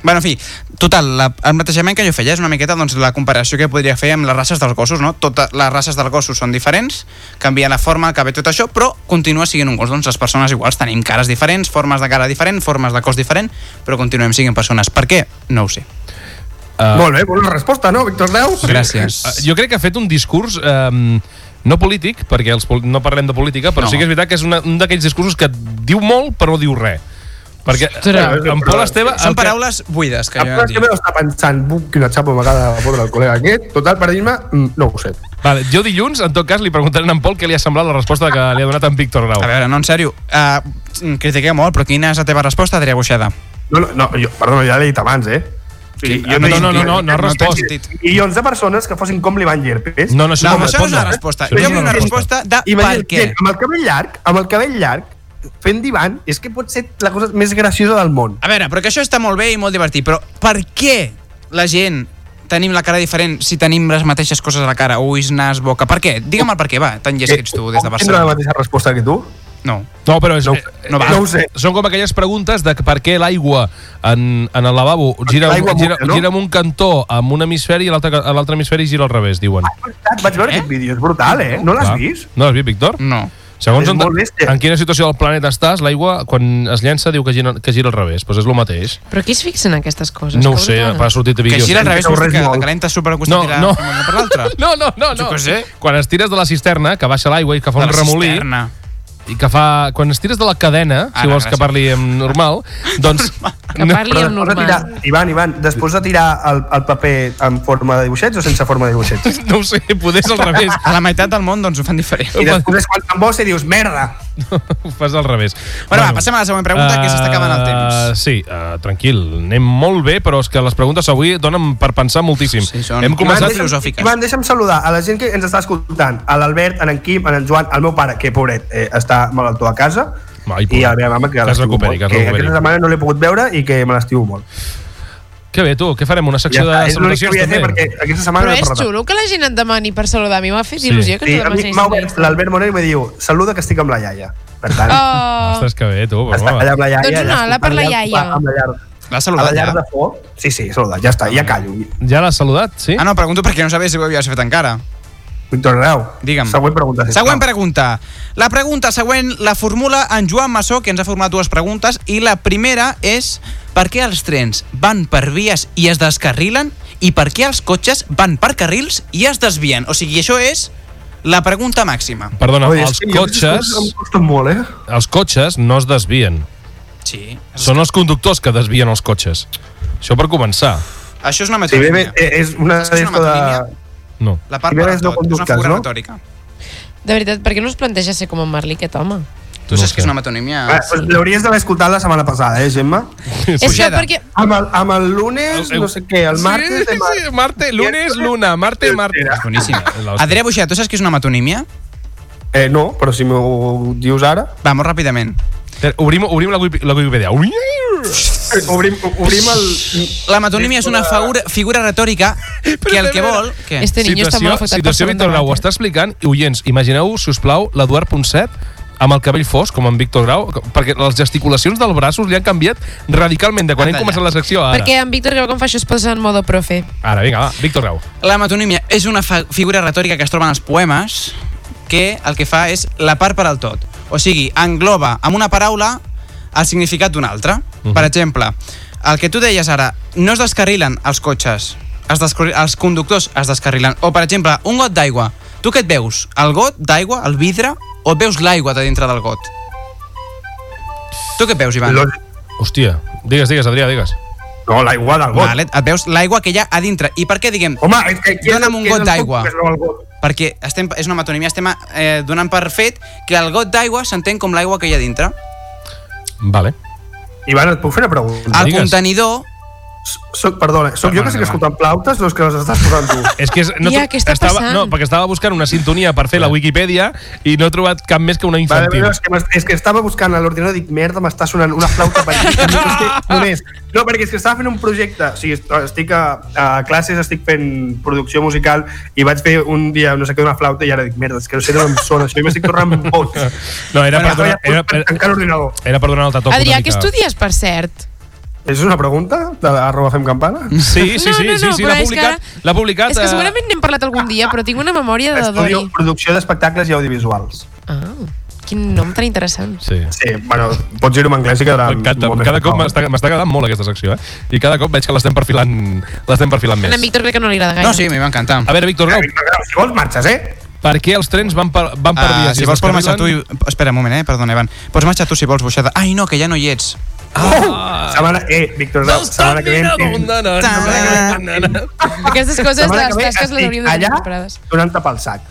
[SPEAKER 4] Bueno, en fi, total, la, el plantejament que jo feia és una miqueta doncs, la comparació que podria fer amb les races dels gossos, no? Totes les races dels gossos són diferents, canvien la forma, el cabell, tot això, però continua sent un gos. Doncs les persones iguals tenim cares diferents, formes de cara diferent, formes de cos diferent, però continuem sent persones. Per què? No ho sé.
[SPEAKER 5] Molt bé, bona resposta, no, Víctor Grau?
[SPEAKER 4] Gràcies.
[SPEAKER 2] Eh, Jo crec que ha fet un discurs... Um, no polític, perquè els, pol- no parlem de política, però
[SPEAKER 4] No.
[SPEAKER 2] no. sí que és veritat que és una, un d'aquells discursos que et diu molt però no diu res. Perquè eh,
[SPEAKER 3] Ostres.
[SPEAKER 2] en Pol Esteve... el
[SPEAKER 4] Són
[SPEAKER 2] que-
[SPEAKER 4] paraules buides que
[SPEAKER 5] A
[SPEAKER 4] jo
[SPEAKER 5] part
[SPEAKER 4] he
[SPEAKER 5] que me
[SPEAKER 4] dit.
[SPEAKER 5] lo està pensant, buf, quina xapa m'acaba de fotre el col·lega aquest, total, per dir-me, mm, no ho sé.
[SPEAKER 2] Vale, jo dilluns, en tot cas, li preguntaré a en Pol què li ha semblat la resposta que li ha donat en Víctor Grau.
[SPEAKER 4] A veure, no, en sèrio, uh, critiqueu molt, però quina és la teva resposta, Adrià Boixeda?
[SPEAKER 5] No, no, no jo, perdona, ja l'he dit abans, eh?
[SPEAKER 4] Sí,
[SPEAKER 5] jo
[SPEAKER 4] ah, no,
[SPEAKER 5] he
[SPEAKER 4] no,
[SPEAKER 5] dit-
[SPEAKER 4] no, no, no has
[SPEAKER 5] he
[SPEAKER 4] respost.
[SPEAKER 5] dit Milions de persones que fossin com l'Ivan Llerpes.
[SPEAKER 2] No, no, això
[SPEAKER 4] No,
[SPEAKER 2] no,
[SPEAKER 4] això no és una
[SPEAKER 2] respon,
[SPEAKER 4] resposta.
[SPEAKER 2] eh? Això no
[SPEAKER 4] Jo
[SPEAKER 2] és
[SPEAKER 4] vull una resposta de per
[SPEAKER 5] Imagina't,
[SPEAKER 4] què.
[SPEAKER 5] gent, amb el cabell llarg, amb el cabell llarg, fent divan, és que pot ser la cosa més graciosa del món.
[SPEAKER 4] A veure, però que això està molt bé i molt divertit, però per què la gent tenim la cara diferent si tenim les mateixes coses a la cara, ulls, nas, boca? Per què? Digue'm el per què, va, tan llest Ah, que ets tu des de
[SPEAKER 5] Puc tindre Eh, la
[SPEAKER 4] Barcelona.
[SPEAKER 5] mateixa resposta que tu?
[SPEAKER 4] No.
[SPEAKER 2] No, però és,
[SPEAKER 5] No ho-
[SPEAKER 2] no,
[SPEAKER 5] Eh, no ho sé.
[SPEAKER 2] són com aquelles preguntes de per què l'aigua en, en el lavabo gira,
[SPEAKER 5] l'aigua
[SPEAKER 2] gira,
[SPEAKER 5] bufa, no?
[SPEAKER 2] gira en un cantó amb un hemisferi i l'altre a l'altre hemisferi gira al revés, diuen.
[SPEAKER 5] Vaig veure aquest vídeo, és brutal, eh? Ah, No l'has
[SPEAKER 2] Clar.
[SPEAKER 5] vist?
[SPEAKER 2] No l'has vist, Víctor?
[SPEAKER 4] No.
[SPEAKER 2] Segons
[SPEAKER 5] És
[SPEAKER 2] on,
[SPEAKER 5] molt bèstia.
[SPEAKER 2] en quina situació del planeta estàs, l'aigua, quan es llença, diu que gira, que gira al revés. Doncs és el mateix.
[SPEAKER 3] Però qui es fixen en aquestes coses?
[SPEAKER 2] No ho
[SPEAKER 3] Que
[SPEAKER 2] sé,
[SPEAKER 3] brutal.
[SPEAKER 2] ha sortit a
[SPEAKER 4] Que
[SPEAKER 2] vídeos.
[SPEAKER 4] gira al revés,
[SPEAKER 5] no res
[SPEAKER 4] que la
[SPEAKER 5] molt.
[SPEAKER 4] calenta surt per un costat
[SPEAKER 2] No,
[SPEAKER 4] i la
[SPEAKER 2] no.
[SPEAKER 4] una per l'altre.
[SPEAKER 2] No, no, no, no.
[SPEAKER 4] Jo què sé.
[SPEAKER 2] Quan es tires de la cisterna, que baixa l'aigua i que fa
[SPEAKER 4] De
[SPEAKER 2] un
[SPEAKER 4] la
[SPEAKER 2] remolí,
[SPEAKER 4] cisterna.
[SPEAKER 2] i que fa... Quan es tires de la cadena, si
[SPEAKER 4] Ara,
[SPEAKER 2] vols que
[SPEAKER 4] gràcies.
[SPEAKER 2] parli en normal, doncs...
[SPEAKER 3] Que parli
[SPEAKER 5] Però
[SPEAKER 3] amb
[SPEAKER 5] després de tirar,
[SPEAKER 3] normal.
[SPEAKER 5] Ivan, Ivan, després de tirar el, el paper en forma de dibuixets o sense forma de dibuixets?
[SPEAKER 2] No ho sé, poder és al revés.
[SPEAKER 4] A la meitat del món doncs ho fan diferent.
[SPEAKER 5] I després quan te'n vols i dius, merda!
[SPEAKER 2] Ho fas al revés.
[SPEAKER 4] Bueno, va, passem a la següent pregunta, que s'està acabant el
[SPEAKER 2] Eh,
[SPEAKER 4] temps.
[SPEAKER 2] sí, uh, tranquil, anem molt bé, però és que les preguntes avui donen per pensar moltíssim.
[SPEAKER 4] Sí, són-
[SPEAKER 2] Hem
[SPEAKER 4] Començat
[SPEAKER 5] Ivan,
[SPEAKER 2] començat...
[SPEAKER 5] deixa'm-
[SPEAKER 4] filosòfiques.
[SPEAKER 5] Ivan, deixa'm saludar a la gent que ens està escoltant, a l'Albert, a en Quim, a en Joan, al meu pare, que pobret, eh, està malaltó a casa,
[SPEAKER 2] Ai, pobret.
[SPEAKER 5] i a la meva mama, que,
[SPEAKER 2] Que es
[SPEAKER 5] l'estimo
[SPEAKER 2] recuperi,
[SPEAKER 5] molt,
[SPEAKER 2] que es
[SPEAKER 5] que
[SPEAKER 2] recuperi.
[SPEAKER 5] aquesta setmana no l'he pogut veure i que me l'estimo molt.
[SPEAKER 2] Que bé, tu, què farem? Una secció
[SPEAKER 5] Ja està,
[SPEAKER 2] de
[SPEAKER 5] és l'únic
[SPEAKER 2] salutacions,
[SPEAKER 5] que volia fer
[SPEAKER 2] també?
[SPEAKER 5] perquè aquesta setmana
[SPEAKER 3] Però
[SPEAKER 5] no he
[SPEAKER 3] és
[SPEAKER 5] parlat.
[SPEAKER 3] xulo que la gent et demani per saludar. A mi m'ha fet
[SPEAKER 2] Sí.
[SPEAKER 3] il·lusió que
[SPEAKER 5] Sí,
[SPEAKER 3] tu
[SPEAKER 5] a mi
[SPEAKER 3] demanessis.
[SPEAKER 5] m'ha obert l'Albert Moreno i me diu saluda que estic amb la iaia. Per tant,
[SPEAKER 3] Oh,
[SPEAKER 2] Ostres, que bé, tu. Però,
[SPEAKER 5] està
[SPEAKER 2] home.
[SPEAKER 5] allà amb la iaia.
[SPEAKER 3] Doncs una
[SPEAKER 5] allà
[SPEAKER 3] ala per la
[SPEAKER 5] escoltant
[SPEAKER 3] iaia.
[SPEAKER 5] Amb la llar,
[SPEAKER 4] L'ha
[SPEAKER 5] a la
[SPEAKER 4] saludat
[SPEAKER 5] llar
[SPEAKER 4] ja.
[SPEAKER 5] de foc. Sí, sí, saluda, ja està, ja callo.
[SPEAKER 2] Ja l'has saludat, sí?
[SPEAKER 4] Ah, no, pregunto perquè no sabia si ho havies fet encara.
[SPEAKER 5] Víctor Grau,
[SPEAKER 4] Digue'm.
[SPEAKER 5] següent pregunta. sisplau.
[SPEAKER 4] Següent pregunta. La pregunta següent la formula en Joan Massó, que ens ha format dues preguntes, i la primera és per què els trens van per vies i es descarrilen i per què els cotxes van per carrils i es desvien? O sigui, això és la pregunta màxima.
[SPEAKER 2] Perdona,
[SPEAKER 5] Oi, és
[SPEAKER 2] els
[SPEAKER 5] que jo aquestes
[SPEAKER 2] cotxes,
[SPEAKER 5] coses Em costen molt, eh?
[SPEAKER 2] els cotxes no es desvien.
[SPEAKER 4] Sí.
[SPEAKER 2] Són els conductors que desvien els cotxes. Això per començar.
[SPEAKER 4] Això és una
[SPEAKER 5] Si bé, bé,
[SPEAKER 4] metodínia.
[SPEAKER 5] eh, és una
[SPEAKER 4] És una
[SPEAKER 5] d'esto de...
[SPEAKER 4] maquinilla.
[SPEAKER 2] No.
[SPEAKER 4] La part
[SPEAKER 5] si bé
[SPEAKER 4] per
[SPEAKER 5] és no
[SPEAKER 4] tot, és una
[SPEAKER 5] conductes,
[SPEAKER 4] figura
[SPEAKER 5] no?
[SPEAKER 4] retòrica.
[SPEAKER 3] de veritat, per què no es planteja ser com en Marley, aquest home?
[SPEAKER 4] Tu
[SPEAKER 2] No
[SPEAKER 4] saps
[SPEAKER 2] sé.
[SPEAKER 4] que és una metonímia...
[SPEAKER 5] Ah, doncs L'hauries d'haver escoltat la setmana passada, eh, Gemma?
[SPEAKER 3] És que
[SPEAKER 4] Pujada.
[SPEAKER 3] perquè...
[SPEAKER 5] Amb el, amb el lunes, no sé què, el martes...
[SPEAKER 2] Sí,
[SPEAKER 5] de mar-
[SPEAKER 2] sí, marte, lunes, luna, marte, marte. És boníssima.
[SPEAKER 4] Adrià Buixer, tu saps que és una metonímia?
[SPEAKER 5] Eh, no, però si m'ho dius ara...
[SPEAKER 4] Va, molt ràpidament.
[SPEAKER 2] Obrim, obrim la, Wiki- la Wikipedia. Ui!
[SPEAKER 5] Eh, Obrim, obrim el...
[SPEAKER 4] La metonímia és una figura, figura retòrica que el que vol... Què?
[SPEAKER 3] Este niño está mal afectat per eh?
[SPEAKER 2] situació
[SPEAKER 3] segon
[SPEAKER 2] Víctor Grau ho
[SPEAKER 3] debat,
[SPEAKER 2] està explicant i oients, imagineu, si us plau, l'Eduard Ponset amb el cabell fosc, com en Víctor Grau, perquè les gesticulacions dels braços li han canviat radicalment de quan hem
[SPEAKER 4] Anda,
[SPEAKER 2] començat la secció a
[SPEAKER 3] eh?
[SPEAKER 2] ara.
[SPEAKER 3] Perquè en Víctor Grau quan fa això es posa en modo profe.
[SPEAKER 2] Ara, vinga, va, Víctor Grau.
[SPEAKER 4] La metonímia és una fa- figura retòrica que es troba en els poemes que el que fa és la part per al tot. O sigui, engloba amb una paraula el significat d'una altra.
[SPEAKER 2] Mhm.
[SPEAKER 4] Per exemple, el que tu deies ara, no es descarrilen els cotxes, es descarri- els conductors es descarrilen. O, per exemple, un got d'aigua. Tu què et veus? El got d'aigua, el vidre, o et veus l'aigua de dintre del got? Tu què et veus, Ivan?
[SPEAKER 5] Lo-
[SPEAKER 2] Hòstia, digues, digues, Adrià, digues.
[SPEAKER 5] No, l'aigua del got.
[SPEAKER 4] Vale, et veus l'aigua que hi ha a dintre. I per què diguem?
[SPEAKER 5] Home, és que... qui és-
[SPEAKER 4] Dona'm un
[SPEAKER 5] qui és
[SPEAKER 4] got
[SPEAKER 5] el
[SPEAKER 4] d'aigua.
[SPEAKER 5] que es veu al got?
[SPEAKER 4] perquè estem, és una metonímia, estem eh, donant per fet que el got d'aigua s'entén com l'aigua que hi ha dintre.
[SPEAKER 2] Vale.
[SPEAKER 5] Ivan, et puc fer una pregunta?
[SPEAKER 4] El
[SPEAKER 2] digues.
[SPEAKER 4] contenidor...
[SPEAKER 5] Soc, perdona, soc jo
[SPEAKER 4] Perdona,
[SPEAKER 5] que
[SPEAKER 4] Ivan.
[SPEAKER 5] estic escoltant plautes o és que les estàs posant tu?
[SPEAKER 2] És que és,
[SPEAKER 3] Tia,
[SPEAKER 2] tro-
[SPEAKER 3] què està
[SPEAKER 2] estava,
[SPEAKER 3] passant?
[SPEAKER 2] No, perquè estava buscant una sintonia per fer la Wikipedia i no he trobat cap més que una
[SPEAKER 5] Vale,
[SPEAKER 2] infantil.
[SPEAKER 5] no, és, que m'est- és que estava buscant a l'ordinador i dic, merda, m'està sonant una flauta per aquí. És que, només. No, perquè és que estava fent un projecte, o sigui, est- estic a, a classes, estic fent producció musical i vaig fer un dia no sé què d'una flauta i ara dic, merda, és que no sé d'on em sona això i m'estic tornant bot.
[SPEAKER 2] No, era per,
[SPEAKER 5] Bueno,
[SPEAKER 2] donar, era,
[SPEAKER 5] per
[SPEAKER 2] era,
[SPEAKER 5] tancar l'ordinador.
[SPEAKER 2] era per donar el tatoc. Tota
[SPEAKER 3] Adrià,
[SPEAKER 2] una
[SPEAKER 3] què
[SPEAKER 2] mica.
[SPEAKER 3] estudies, per cert?
[SPEAKER 5] És una pregunta de la arroba fem campana?
[SPEAKER 2] Sí, sí, sí,
[SPEAKER 3] no, no,
[SPEAKER 2] sí, sí,
[SPEAKER 3] però
[SPEAKER 2] l'ha
[SPEAKER 3] és
[SPEAKER 2] publicat.
[SPEAKER 3] que-
[SPEAKER 2] L'ha publicat.
[SPEAKER 3] És que
[SPEAKER 2] eh,
[SPEAKER 3] segurament n'hem parlat algun dia, però tinc una memòria de
[SPEAKER 5] Estudio
[SPEAKER 3] Dori.
[SPEAKER 5] producció d'espectacles i audiovisuals.
[SPEAKER 3] Ah, quin nom tan interessant.
[SPEAKER 2] Sí.
[SPEAKER 5] Sí, bueno, pots dir-ho en anglès i quedarà...
[SPEAKER 2] M'encanta,
[SPEAKER 5] molt més
[SPEAKER 2] cada cop
[SPEAKER 5] acabat.
[SPEAKER 2] m'està m'està agradant molt aquesta secció, eh? I cada cop veig que l'estem perfilant, l'estem perfilant
[SPEAKER 3] A en
[SPEAKER 2] més.
[SPEAKER 3] Víctor crec que no li agrada gaire.
[SPEAKER 4] No, sí, a mi m'encanta.
[SPEAKER 2] A veure, Víctor Grau,
[SPEAKER 5] Si vols, marxes, eh?
[SPEAKER 2] per què els trens van per, van per
[SPEAKER 4] Ah,
[SPEAKER 2] vies? i
[SPEAKER 4] si
[SPEAKER 2] es
[SPEAKER 4] vols pots marxar tu i...
[SPEAKER 2] descarrilen?
[SPEAKER 4] Espera un moment, eh? Perdona, Ivan. Pots marxar tu si vols, boixada. Ai, no, que ja no hi ets.
[SPEAKER 5] Ah. Setmana, eh, Víctor Grau, setmana que ve... em-
[SPEAKER 2] Na, na, na, na, na, na.
[SPEAKER 3] Aquestes coses,
[SPEAKER 5] Setmana
[SPEAKER 3] les
[SPEAKER 5] que ve
[SPEAKER 3] tasques les
[SPEAKER 5] estic
[SPEAKER 3] hauríem de tenir
[SPEAKER 5] allà
[SPEAKER 3] preparades.
[SPEAKER 5] donant-te pel sac.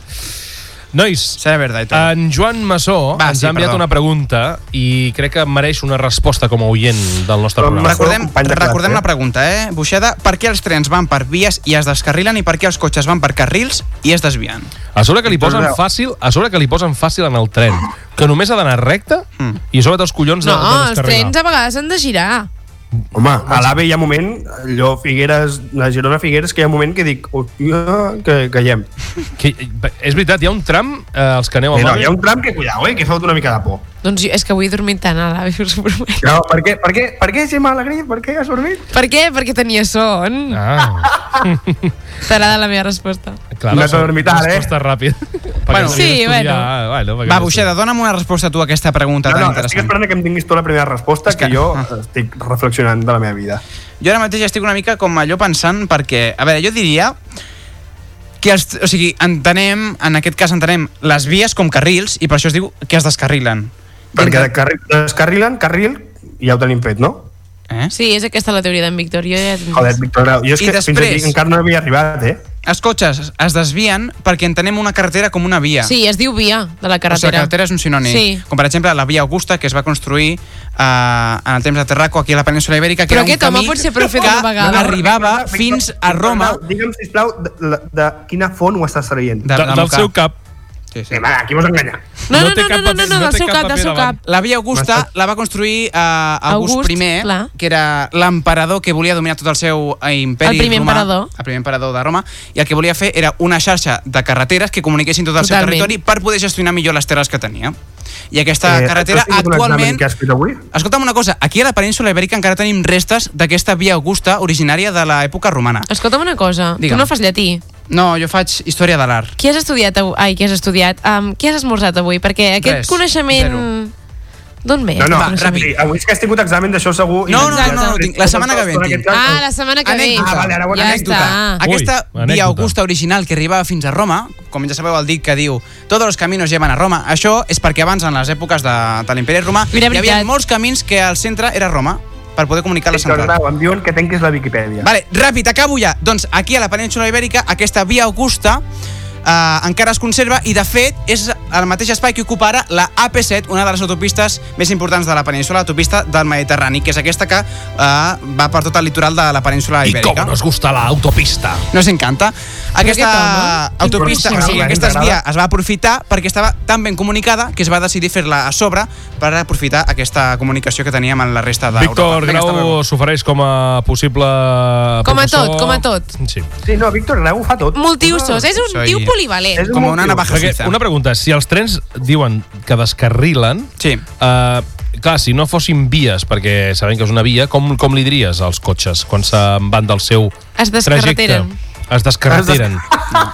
[SPEAKER 2] Nois,
[SPEAKER 4] Serà verdad eh, i
[SPEAKER 5] Ah,
[SPEAKER 4] tot.
[SPEAKER 2] en Joan Massó
[SPEAKER 4] Va,
[SPEAKER 2] ens
[SPEAKER 4] sí,
[SPEAKER 2] ha enviat
[SPEAKER 4] perdó.
[SPEAKER 2] una pregunta i crec que mereix una resposta com a oient del nostre
[SPEAKER 5] Però
[SPEAKER 2] programa.
[SPEAKER 5] Massó,
[SPEAKER 4] Recordem,
[SPEAKER 5] company de classe,
[SPEAKER 4] recordem
[SPEAKER 5] eh?
[SPEAKER 4] la pregunta, eh? Buixada, per què els trens van per vies i es descarrilen i per què els cotxes van per carrils i es desvien?
[SPEAKER 2] A sobre que li posen
[SPEAKER 5] Grau.
[SPEAKER 2] fàcil, a sobre que li posen fàcil en el
[SPEAKER 5] Mm.
[SPEAKER 2] tren, que només ha d'anar recte i a sobre té els collons
[SPEAKER 3] No,
[SPEAKER 2] de, de
[SPEAKER 3] els
[SPEAKER 2] descarrilar.
[SPEAKER 3] trens a vegades han de girar.
[SPEAKER 5] Home, a l'AVE hi ha moment, allò Figueres, la Girona Figueres, que hi ha un moment que dic, hòstia, que callem.
[SPEAKER 2] Que, eh, és veritat, hi ha un tram, eh, els que aneu
[SPEAKER 5] Eh,
[SPEAKER 2] amb
[SPEAKER 5] no,
[SPEAKER 2] AVE-
[SPEAKER 5] hi ha un tram que, cuidao, eh, que fot una mica de por.
[SPEAKER 3] Doncs jo, és que avui he dormit tant a l'àvia, us ho prometo.
[SPEAKER 5] No, per què, per què, per què Gemma Alegrí? Per què has dormit?
[SPEAKER 3] Per què? Perquè tenia son. Ah.
[SPEAKER 2] Ah,
[SPEAKER 3] T'agrada la meva resposta.
[SPEAKER 2] clar,
[SPEAKER 5] Una dormitada, eh?
[SPEAKER 2] Resposta ràpida.
[SPEAKER 4] Bueno,
[SPEAKER 3] sí, bueno.
[SPEAKER 2] Ah, bueno perquè
[SPEAKER 4] Va, Buixeda, dona'm una resposta tu a aquesta pregunta tan
[SPEAKER 5] No, no, estic
[SPEAKER 4] interessant.
[SPEAKER 5] esperant que em tinguis tu la primera resposta,
[SPEAKER 4] És que-
[SPEAKER 5] que jo
[SPEAKER 4] Ah.
[SPEAKER 5] estic reflexionant de la meva vida.
[SPEAKER 4] Jo ara mateix estic una mica com allò pensant perquè, a veure, jo diria que els, o sigui, entenem, en aquest cas entenem les vies com carrils i per això es diu que es descarrilen.
[SPEAKER 5] Perquè de carril, descarrilen, carril, ja ho tenim fet, no?
[SPEAKER 4] Eh?
[SPEAKER 3] Sí, és aquesta la teoria d'en Víctor. Jo ja...
[SPEAKER 5] Joder, Víctor Grau, jo és
[SPEAKER 4] I
[SPEAKER 5] que fins
[SPEAKER 4] després-
[SPEAKER 5] aquí encara no havia arribat, eh?
[SPEAKER 4] Els cotxes es desvien perquè entenem una carretera com una via.
[SPEAKER 3] Sí, es diu via de la
[SPEAKER 4] O sigui,
[SPEAKER 3] carretera.
[SPEAKER 4] la carretera és un sinònim.
[SPEAKER 3] Sí.
[SPEAKER 4] Com per exemple la via Augusta que es va construir eh, en el temps de Terraco aquí a la península Ibèrica que
[SPEAKER 3] Però
[SPEAKER 4] era un
[SPEAKER 3] aquest home
[SPEAKER 4] camí
[SPEAKER 3] pot ser profe
[SPEAKER 4] que
[SPEAKER 3] d'una vegada.
[SPEAKER 4] arribava
[SPEAKER 5] Víctor,
[SPEAKER 4] fins a
[SPEAKER 5] Víctor
[SPEAKER 4] Roma
[SPEAKER 5] Grau, Digue'm, sisplau, de, de, de quina font ho estàs traient.
[SPEAKER 4] de,
[SPEAKER 2] De,
[SPEAKER 4] de
[SPEAKER 2] del
[SPEAKER 4] Moca.
[SPEAKER 2] seu cap.
[SPEAKER 4] Sí, sí.
[SPEAKER 5] Sí, va, aquí vols enganyar.
[SPEAKER 3] No,
[SPEAKER 2] No
[SPEAKER 3] no,
[SPEAKER 2] té
[SPEAKER 3] no,
[SPEAKER 2] cap
[SPEAKER 3] no, no, no,
[SPEAKER 2] paper-
[SPEAKER 3] no,
[SPEAKER 2] no
[SPEAKER 3] del
[SPEAKER 2] té
[SPEAKER 3] seu
[SPEAKER 2] cap
[SPEAKER 3] cap, del
[SPEAKER 2] paper
[SPEAKER 3] seu
[SPEAKER 2] davant.
[SPEAKER 3] cap.
[SPEAKER 4] La via Augusta la va construir a August,
[SPEAKER 3] August,
[SPEAKER 4] I,
[SPEAKER 3] clar.
[SPEAKER 4] que era l'emperador que volia dominar tot el seu eh, imperi
[SPEAKER 3] El primer
[SPEAKER 4] romà,
[SPEAKER 3] emperador.
[SPEAKER 4] el primer emperador de Roma, i el que volia fer era una xarxa de carreteres que comuniquessin tot el seu
[SPEAKER 3] Totalment.
[SPEAKER 4] territori per poder gestionar millor les terres que tenia. I aquesta eh, carretera
[SPEAKER 5] has tingut un examen
[SPEAKER 4] actualment...
[SPEAKER 5] Que has fet avui?
[SPEAKER 3] Eh,
[SPEAKER 4] Escolta'm una cosa, aquí a la península Ibèrica encara tenim restes d'aquesta via Augusta originària de l'època romana.
[SPEAKER 3] Escolta'm una cosa, tu
[SPEAKER 4] Digue'm.
[SPEAKER 3] no fas llatí.
[SPEAKER 4] No, jo faig història de l'art.
[SPEAKER 3] Què has estudiat avui? Ai, què has estudiat? Um, què has esmorzat avui? Perquè aquest
[SPEAKER 4] Res,
[SPEAKER 3] coneixement...
[SPEAKER 4] zero.
[SPEAKER 3] D'on ve?
[SPEAKER 5] No, no,
[SPEAKER 4] Va,
[SPEAKER 5] sí,
[SPEAKER 4] ràpid.
[SPEAKER 5] sí, avui és que has tingut examen d'això segur. i
[SPEAKER 4] No, no,
[SPEAKER 5] m'has
[SPEAKER 4] no,
[SPEAKER 5] dit,
[SPEAKER 4] no, tinc-
[SPEAKER 5] "Ah,
[SPEAKER 4] la setmana que ve en
[SPEAKER 5] estona
[SPEAKER 4] tinc."
[SPEAKER 5] aquest
[SPEAKER 3] Ah,
[SPEAKER 5] cas-
[SPEAKER 3] la setmana que
[SPEAKER 4] Anècdota.
[SPEAKER 3] ve.
[SPEAKER 5] Ah, vale, ara bona
[SPEAKER 3] ja
[SPEAKER 5] anècdota.
[SPEAKER 3] Està.
[SPEAKER 4] Aquesta
[SPEAKER 2] Ui,
[SPEAKER 4] via
[SPEAKER 2] anècdota.
[SPEAKER 4] Augusta original que arribava fins a Roma, com ja sabeu el dit que diu tots els camins lleven a Roma, això és perquè abans en les èpoques de, de l'imperi romà
[SPEAKER 3] Mira,
[SPEAKER 4] hi havia
[SPEAKER 3] veritat.
[SPEAKER 4] molts camins que al centre era Roma per poder comunicar la
[SPEAKER 5] Víctor
[SPEAKER 4] central.
[SPEAKER 5] Grau, em diuen que tanquis la Viquipèdia.
[SPEAKER 4] Vale, ràpid, acabo ja. Doncs aquí a la península Ibèrica aquesta via Augusta eh, encara es conserva i de fet és el mateix espai que ocuparà la AP7, una de les autopistes més importants de la península, l'autopista del Mediterrani, que és aquesta que eh, va per tot el litoral de la península
[SPEAKER 2] I com
[SPEAKER 4] Ibèrica.
[SPEAKER 2] nos gusta la autopista.
[SPEAKER 4] Nos encanta.
[SPEAKER 3] què
[SPEAKER 4] Aquesta
[SPEAKER 3] tal,
[SPEAKER 4] autopista,
[SPEAKER 5] Però
[SPEAKER 4] o
[SPEAKER 5] sí,
[SPEAKER 4] sigui,
[SPEAKER 5] ens
[SPEAKER 4] aquesta
[SPEAKER 5] agrada.
[SPEAKER 4] via es va aprofitar perquè estava tan ben comunicada que es va decidir fer-la a sobre per aprofitar aquesta comunicació que teníem amb la resta d'Europa.
[SPEAKER 2] Víctor
[SPEAKER 4] Vinga, hasta
[SPEAKER 2] Grau
[SPEAKER 4] luego.
[SPEAKER 2] s'ofereix com a possible
[SPEAKER 3] Com a
[SPEAKER 2] professor.
[SPEAKER 3] tot, com a tot.
[SPEAKER 2] Sí.
[SPEAKER 5] Sí, no, Víctor Grau ho fa tot.
[SPEAKER 3] Multiusos, eh? és un
[SPEAKER 4] Soy-
[SPEAKER 3] tio polivalent.
[SPEAKER 5] És un
[SPEAKER 4] Com una
[SPEAKER 5] motiu.
[SPEAKER 4] navaja
[SPEAKER 2] Perquè,
[SPEAKER 4] suïssa.
[SPEAKER 2] una pregunta, si els trens diuen que descarrilen,
[SPEAKER 4] Sí.
[SPEAKER 2] eh, clar, si no fossin vies, perquè sabem que és una via, com, com li diries als cotxes quan se'n van del seu
[SPEAKER 3] Es descarreteren.
[SPEAKER 2] trajecte? Es descarreteren.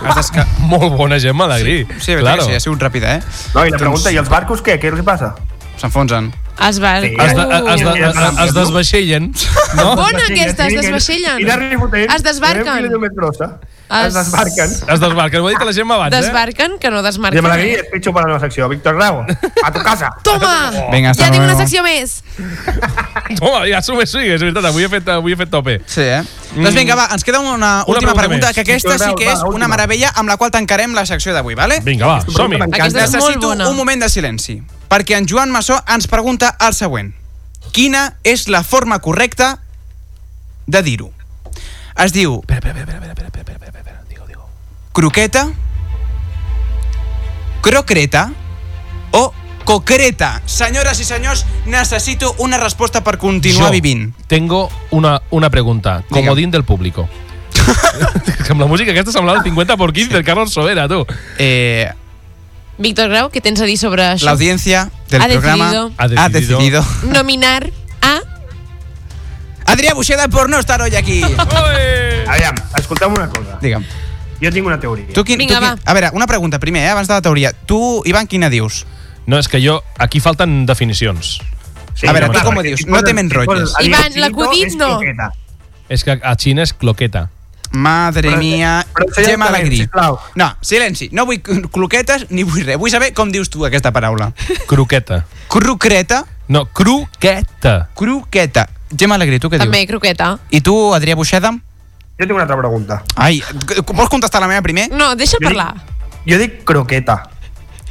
[SPEAKER 4] Has desca-
[SPEAKER 2] Molt bona Gemma Alegrí.
[SPEAKER 4] Sí, claro. sí, ha sigut ràpida, eh?
[SPEAKER 5] No, i la pregunta, i els barcos què? Què els passa?
[SPEAKER 4] S'enfonsen.
[SPEAKER 3] Es va...
[SPEAKER 5] Sí.
[SPEAKER 2] Es, de, es, de, es,
[SPEAKER 5] Uh.
[SPEAKER 2] es desvaixellen, no?
[SPEAKER 4] Doncs
[SPEAKER 3] Bona aquesta, es desvaixellen.
[SPEAKER 5] Quina ribotent.
[SPEAKER 3] Es desbarquen.
[SPEAKER 5] Es,
[SPEAKER 3] Es-
[SPEAKER 5] es desbarquen.
[SPEAKER 2] Es desbarquen, ho ha dit la Gemma abans, eh?
[SPEAKER 3] Desbarquen, que no
[SPEAKER 5] Ja me l'agradi,
[SPEAKER 3] desmarquen.
[SPEAKER 5] és pitjor per la meva secció. Víctor Grau, a tu casa.
[SPEAKER 3] Toma!
[SPEAKER 4] Vinga, hasta
[SPEAKER 3] ja tinc una
[SPEAKER 4] luego.
[SPEAKER 3] secció més.
[SPEAKER 2] eh? Home, ja s'ho sí, és veritat, avui he fet, avui he fet tope.
[SPEAKER 4] Sí, eh? Doncs vinga, va, ens queda una,
[SPEAKER 2] pregunta
[SPEAKER 4] última pregunta,
[SPEAKER 2] més.
[SPEAKER 4] que aquesta sí que
[SPEAKER 5] Va,
[SPEAKER 4] és una
[SPEAKER 5] última.
[SPEAKER 4] meravella amb la qual tancarem la secció d'avui, vale?
[SPEAKER 2] Vinga, va, som-hi.
[SPEAKER 3] Aquesta és molt
[SPEAKER 4] Necessito
[SPEAKER 3] bona.
[SPEAKER 4] un moment de silenci, perquè en Joan Massó ens pregunta el següent. Quina és la forma correcta de dir-ho? Es diu
[SPEAKER 2] Espera, espera, espera, espera, espera, espera, espera, espera, digo, digo.
[SPEAKER 4] croqueta, crocreta o cocreta. Senyores i senyors, necessito una resposta per continuar
[SPEAKER 2] Yo
[SPEAKER 4] vivint.
[SPEAKER 2] Tengo una, una pregunta.
[SPEAKER 4] Diga.
[SPEAKER 2] Comodín del público. amb la música aquesta semblava el 50 por 15 del Carlos Sobera, tu.
[SPEAKER 4] Eh,
[SPEAKER 3] Víctor Grau, què tens a dir sobre
[SPEAKER 4] la
[SPEAKER 3] això?
[SPEAKER 4] audiencia del
[SPEAKER 3] Ha
[SPEAKER 4] programa
[SPEAKER 3] decidido.
[SPEAKER 2] Ha
[SPEAKER 4] ha
[SPEAKER 2] decidido.
[SPEAKER 4] decidido.
[SPEAKER 3] Nominar a...
[SPEAKER 4] Adrià Buixeda por no estar hoy aquí.
[SPEAKER 5] Aviam, escolta'm una cosa.
[SPEAKER 4] Digue'm.
[SPEAKER 5] Jo tinc una teoria.
[SPEAKER 4] Tu, quin,
[SPEAKER 3] Vinga,
[SPEAKER 4] tu, quin,
[SPEAKER 3] va.
[SPEAKER 4] a veure, una pregunta primer, eh, abans de la teoria. Tu, Ivan, quina dius?
[SPEAKER 2] No, és que jo... Aquí falten definicions.
[SPEAKER 5] Sí,
[SPEAKER 4] a veure,
[SPEAKER 5] home,
[SPEAKER 4] tu com ho
[SPEAKER 5] perquè
[SPEAKER 4] dius?
[SPEAKER 5] si
[SPEAKER 4] No te
[SPEAKER 5] poses-
[SPEAKER 4] m'enrotlles.
[SPEAKER 5] si poses
[SPEAKER 3] Ivan,
[SPEAKER 5] adiosito,
[SPEAKER 3] l'acudit
[SPEAKER 5] és
[SPEAKER 3] no.
[SPEAKER 5] croqueta.
[SPEAKER 2] És que a Xina és cloqueta.
[SPEAKER 4] Madre
[SPEAKER 5] Però-
[SPEAKER 4] mia,
[SPEAKER 5] però això ja
[SPEAKER 4] Gemma
[SPEAKER 5] ho sabem,
[SPEAKER 4] Alegrí.
[SPEAKER 5] sisplau.
[SPEAKER 4] No, silenci. No vull cloquetes ni vull res. Vull saber com dius tu aquesta paraula.
[SPEAKER 2] Croqueta.
[SPEAKER 4] Crucreta,
[SPEAKER 2] No, croqueta.
[SPEAKER 4] cruqueta. Gemma Alegrí, tu què
[SPEAKER 3] També
[SPEAKER 4] dius?
[SPEAKER 3] croqueta.
[SPEAKER 4] I tu, Adrià Buixeda?
[SPEAKER 5] Jo tinc una altra pregunta.
[SPEAKER 4] Ai, c- vols contestar la meva primer?
[SPEAKER 3] No, deixa
[SPEAKER 5] Jo dic-
[SPEAKER 3] parlar.
[SPEAKER 5] Jo dic croqueta.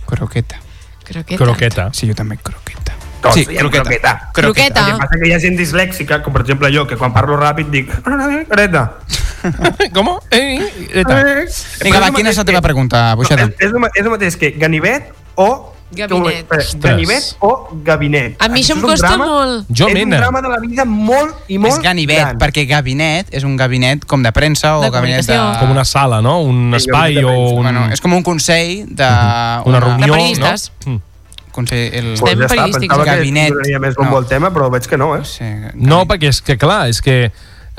[SPEAKER 4] Croqueta.
[SPEAKER 3] Croqueta.
[SPEAKER 2] Croqueta.
[SPEAKER 4] Sí, jo també, croqueta.
[SPEAKER 5] Tots
[SPEAKER 4] sí,
[SPEAKER 5] Doncs diem croqueta.
[SPEAKER 3] Croqueta.
[SPEAKER 5] El que passa que hi ha gent dislèxica, com per exemple jo, que quan parlo ràpid dic... Croqueta.
[SPEAKER 2] Com? Eh, eh, eh,
[SPEAKER 4] Vinga,
[SPEAKER 5] Eh,
[SPEAKER 4] va,
[SPEAKER 5] però és el
[SPEAKER 4] quina és la
[SPEAKER 5] mateix
[SPEAKER 4] teva
[SPEAKER 5] que-
[SPEAKER 4] pregunta, Buixeda?
[SPEAKER 5] No, és, és, el ma- és el mateix que ganivet o
[SPEAKER 3] Gabinet.
[SPEAKER 5] Espera, Ganivet o Gabinet.
[SPEAKER 3] A mi això em
[SPEAKER 5] és un
[SPEAKER 3] costa
[SPEAKER 5] drama-
[SPEAKER 3] molt.
[SPEAKER 2] Jo,
[SPEAKER 5] és
[SPEAKER 2] mena.
[SPEAKER 5] un drama de la vida molt i
[SPEAKER 4] És
[SPEAKER 5] molt
[SPEAKER 4] ganivet,
[SPEAKER 5] gran.
[SPEAKER 4] perquè gabinet és un gabinet com de premsa o
[SPEAKER 3] De
[SPEAKER 4] gabinet de...
[SPEAKER 3] comunicació.
[SPEAKER 2] Com una sala, no? Un
[SPEAKER 5] Sí, jo crec
[SPEAKER 2] espai
[SPEAKER 5] que
[SPEAKER 2] o
[SPEAKER 5] penso,
[SPEAKER 2] un,
[SPEAKER 4] Bueno, és com un consell de...
[SPEAKER 2] una reunió,
[SPEAKER 3] periodistes.
[SPEAKER 2] no? Mm.
[SPEAKER 4] No? Consell, el...
[SPEAKER 5] Pues ja està,
[SPEAKER 3] periodístics.
[SPEAKER 5] pensava
[SPEAKER 4] Gabinet,
[SPEAKER 5] que donaria més bombo
[SPEAKER 4] no.
[SPEAKER 5] al tema, però veig que no, eh?
[SPEAKER 4] Sí,
[SPEAKER 2] No, perquè és que, clar, és que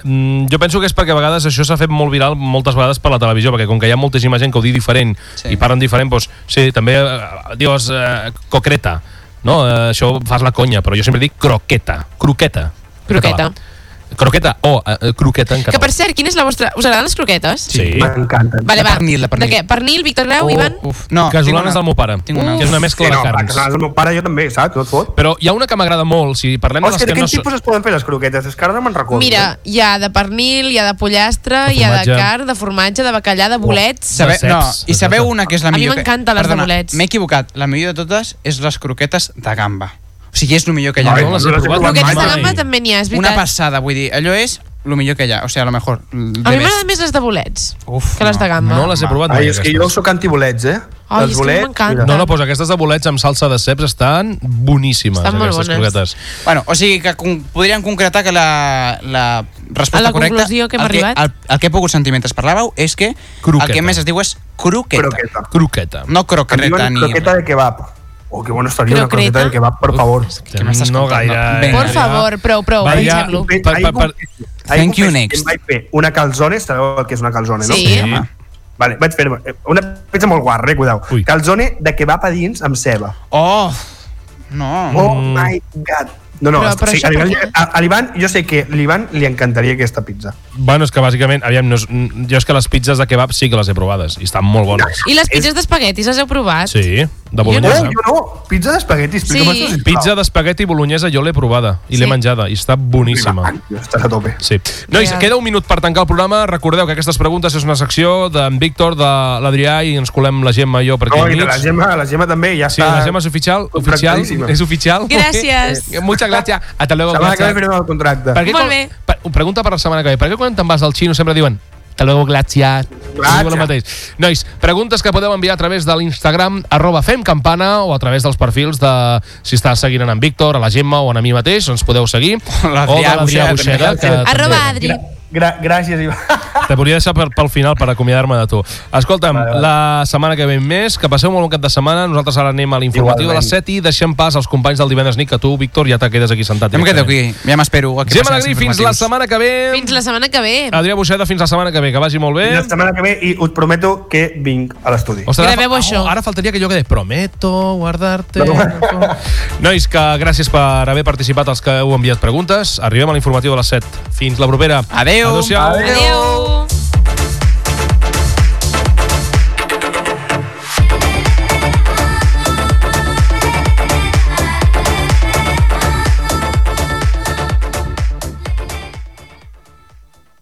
[SPEAKER 2] mm, jo penso que és perquè a vegades això s'ha fet molt viral moltes vegades per la televisió, perquè com que hi ha moltíssima gent que ho diu diferent
[SPEAKER 4] Sí.
[SPEAKER 2] i parlen diferent, doncs, sí, també eh, dius eh, cocreta, no? Eh, això fas la conya, però jo sempre dic croqueta, croqueta. en
[SPEAKER 3] Croqueta.
[SPEAKER 2] català. Croqueta o eh, croqueta en
[SPEAKER 3] Que
[SPEAKER 2] català.
[SPEAKER 3] per cert, quina és la vostra... Us agraden les croquetes?
[SPEAKER 2] Sí.
[SPEAKER 5] M'encanta.
[SPEAKER 3] Vale,
[SPEAKER 4] La
[SPEAKER 3] va.
[SPEAKER 4] pernil, la pernil.
[SPEAKER 3] De què? Pernil, Víctor Grau, Ivan?
[SPEAKER 4] Uf, no,
[SPEAKER 2] Casolanes del meu pare, Mm.
[SPEAKER 4] Tinc una.
[SPEAKER 2] que és una mescla
[SPEAKER 5] Sí, no,
[SPEAKER 2] de
[SPEAKER 5] clar,
[SPEAKER 2] carns.
[SPEAKER 5] que el meu pare jo també, saps? No et fot.
[SPEAKER 2] Però hi ha una que m'agrada molt, si parlem
[SPEAKER 5] Oh,
[SPEAKER 2] de les
[SPEAKER 5] és que de
[SPEAKER 2] que
[SPEAKER 5] quin
[SPEAKER 2] no... són-
[SPEAKER 5] tipus es poden fer les croquetes? És que ara no me'n recordo.
[SPEAKER 3] Mira, hi ha de pernil, hi ha de pollastre,
[SPEAKER 2] De
[SPEAKER 3] hi ha de
[SPEAKER 2] formatge.
[SPEAKER 3] carn, de formatge, de bacallà, de bolets...
[SPEAKER 4] Sabe,
[SPEAKER 2] De
[SPEAKER 4] no,
[SPEAKER 2] ceps,
[SPEAKER 4] i sabeu
[SPEAKER 2] exacte.
[SPEAKER 4] una que és la
[SPEAKER 3] A mi
[SPEAKER 4] millor... que-
[SPEAKER 3] m'encanten les de
[SPEAKER 4] Perdona,
[SPEAKER 3] bolets.
[SPEAKER 4] M'he equivocat. La millor de totes és les croquetes de gamba. O sigui, és el millor que hi ha.
[SPEAKER 5] Ai,
[SPEAKER 2] no les he
[SPEAKER 5] no les he
[SPEAKER 2] provat
[SPEAKER 5] provat
[SPEAKER 3] Croquetes de
[SPEAKER 2] mai.
[SPEAKER 3] gamba també n'hi ha, és
[SPEAKER 4] una
[SPEAKER 3] veritat.
[SPEAKER 4] passada, vull dir, allò és el millor que hi ha. O sigui, a lo mejor.
[SPEAKER 3] A mi m'agraden més les de bolets
[SPEAKER 4] Uf,
[SPEAKER 3] que les de
[SPEAKER 4] no,
[SPEAKER 3] gamba.
[SPEAKER 2] No les he provat mai,
[SPEAKER 5] Ai, és que jo
[SPEAKER 2] aquestes.
[SPEAKER 5] sóc antibolets, eh?
[SPEAKER 3] Ai,
[SPEAKER 5] Els
[SPEAKER 3] és que
[SPEAKER 5] bolets,
[SPEAKER 3] m'encanta.
[SPEAKER 5] mira.
[SPEAKER 2] No, no, doncs aquestes de bolets amb salsa de ceps estan boníssimes,
[SPEAKER 3] Estan molt
[SPEAKER 2] aquestes
[SPEAKER 3] bones.
[SPEAKER 2] croquetes.
[SPEAKER 4] Bueno, o sigui que con podríem concretar que la, la resposta
[SPEAKER 3] A la
[SPEAKER 4] correcta...
[SPEAKER 3] conclusió que hem
[SPEAKER 4] el
[SPEAKER 3] arribat?
[SPEAKER 4] El, el, que he pogut sentir mentre parlàveu és que
[SPEAKER 2] Croqueta.
[SPEAKER 4] el que més es diu és croqueta.
[SPEAKER 5] Croqueta.
[SPEAKER 2] Croqueta.
[SPEAKER 4] No
[SPEAKER 5] Que em
[SPEAKER 4] croqueta
[SPEAKER 5] diuen
[SPEAKER 4] ni...
[SPEAKER 5] croqueta de kebab. Oh, que bueno estaría una
[SPEAKER 3] Croqueta.
[SPEAKER 5] croqueta de kebab, por favor.
[SPEAKER 4] Què m'estàs
[SPEAKER 2] no
[SPEAKER 4] contant?
[SPEAKER 2] gaire...
[SPEAKER 4] No.
[SPEAKER 2] eh?
[SPEAKER 4] Vinga,
[SPEAKER 3] Por favor, prou, prou,
[SPEAKER 2] Va, ja.
[SPEAKER 3] deixem-lo.
[SPEAKER 5] Ahí
[SPEAKER 2] Per- per- per-
[SPEAKER 5] confesso-
[SPEAKER 4] Thank
[SPEAKER 5] ahí
[SPEAKER 4] you,
[SPEAKER 5] confesso que
[SPEAKER 4] next.
[SPEAKER 5] em vaig fer una calzone, sabeu el que és una calzone, no?
[SPEAKER 3] Sí.
[SPEAKER 2] Sí.
[SPEAKER 5] Vale, vaig fer una pizza molt guarra, eh, cuidao.
[SPEAKER 2] Ui.
[SPEAKER 5] Calzone de kebab a dins amb ceba.
[SPEAKER 4] Oh, no.
[SPEAKER 5] Oh my god. No, no,
[SPEAKER 3] Però-
[SPEAKER 5] però,
[SPEAKER 3] però
[SPEAKER 5] sí,
[SPEAKER 3] això
[SPEAKER 5] a l'Ivan,
[SPEAKER 3] per què?
[SPEAKER 5] a, a l'Ivan, jo sé que l'Ivan li encantaria aquesta pizza.
[SPEAKER 2] Bueno, és que bàsicament, aviam, no és, mm, jo és que les pizzas de kebab sí que les he provades i estan molt bones.
[SPEAKER 3] I les pizzas d'espaguetis les heu provat?
[SPEAKER 2] Sí, de
[SPEAKER 5] Oh,
[SPEAKER 2] bolognesa.
[SPEAKER 5] jo no, pizza d'espaguetis, explica'm
[SPEAKER 3] Sí.
[SPEAKER 5] això, sisplau.
[SPEAKER 2] eh? Pizza d'espagueti bolognesa jo l'he provada i
[SPEAKER 3] Sí.
[SPEAKER 2] l'he menjada i està boníssima.
[SPEAKER 5] Ah, tio, Estàs a tope.
[SPEAKER 2] Sí. Nois,
[SPEAKER 3] Real.
[SPEAKER 2] queda un minut per tancar el programa. Recordeu que aquestes preguntes és una secció d'en Víctor, de l'Adrià i ens colem la Gemma i jo per aquí
[SPEAKER 5] No,
[SPEAKER 2] al
[SPEAKER 5] i de
[SPEAKER 2] mig.
[SPEAKER 5] la Gemma, la Gemma també, ja
[SPEAKER 2] Sí,
[SPEAKER 5] està.
[SPEAKER 2] la Gemma és oficial, oficial,
[SPEAKER 5] contractadíssima.
[SPEAKER 2] és oficial.
[SPEAKER 3] Gràcies.
[SPEAKER 2] Eh, Muchas gracias. Hasta luego.
[SPEAKER 5] La setmana que ve
[SPEAKER 2] gracias.
[SPEAKER 5] firmem el contracte.
[SPEAKER 2] Per què,
[SPEAKER 3] Molt
[SPEAKER 2] quan-
[SPEAKER 3] bé.
[SPEAKER 2] Per, pregunta per la setmana que ve. Per què quan te'n vas al xino sempre diuen hasta luego, gracias.
[SPEAKER 5] Gracias.
[SPEAKER 2] Diuen el mateix. Nois, preguntes que podeu enviar a través de l'Instagram arroba femcampana o a través dels perfils de si estàs seguint en, en Víctor, a la Gemma o en a mi mateix, ens podeu seguir.
[SPEAKER 4] O l'Adrià
[SPEAKER 2] o de l'Adrià
[SPEAKER 4] Buixeda,
[SPEAKER 2] Buixeda.
[SPEAKER 4] també.
[SPEAKER 2] que
[SPEAKER 3] Arroba
[SPEAKER 2] també-
[SPEAKER 3] Adri.
[SPEAKER 5] Gra gràcies, Ivan.
[SPEAKER 2] Te volia deixar pel, pel final per acomiadar-me de tu. Escolta'm,
[SPEAKER 5] Vale, vale.
[SPEAKER 2] la setmana que ve més, que passeu molt bon cap de setmana, nosaltres ara anem a l'informatiu de les
[SPEAKER 5] Igualment.
[SPEAKER 2] 7 i deixem pas als companys del divendres nit, que tu, Víctor, ja te quedes aquí sentat.
[SPEAKER 4] Ja em quedo
[SPEAKER 2] directament.
[SPEAKER 4] aquí. Ja m'espero. a que
[SPEAKER 2] Gemma
[SPEAKER 4] passin els
[SPEAKER 2] Negri, fins la
[SPEAKER 4] informatius.
[SPEAKER 2] setmana que ve.
[SPEAKER 3] Fins la setmana que ve.
[SPEAKER 2] Adrià Buixeda, fins la setmana que ve, que vagi molt bé.
[SPEAKER 5] La setmana que ve i us prometo que vinc a l'estudi.
[SPEAKER 2] Ostres, ara,
[SPEAKER 3] Graveu
[SPEAKER 2] fa-
[SPEAKER 3] això.
[SPEAKER 2] Oh, ara faltaria que jo quedés prometo guardar-te... Nois, que gràcies per haver participat els que heu enviat preguntes. Arribem a l'informatiu de les 7. Fins la propera.
[SPEAKER 4] Adeu.
[SPEAKER 2] Adéu-siau.
[SPEAKER 3] Adéu.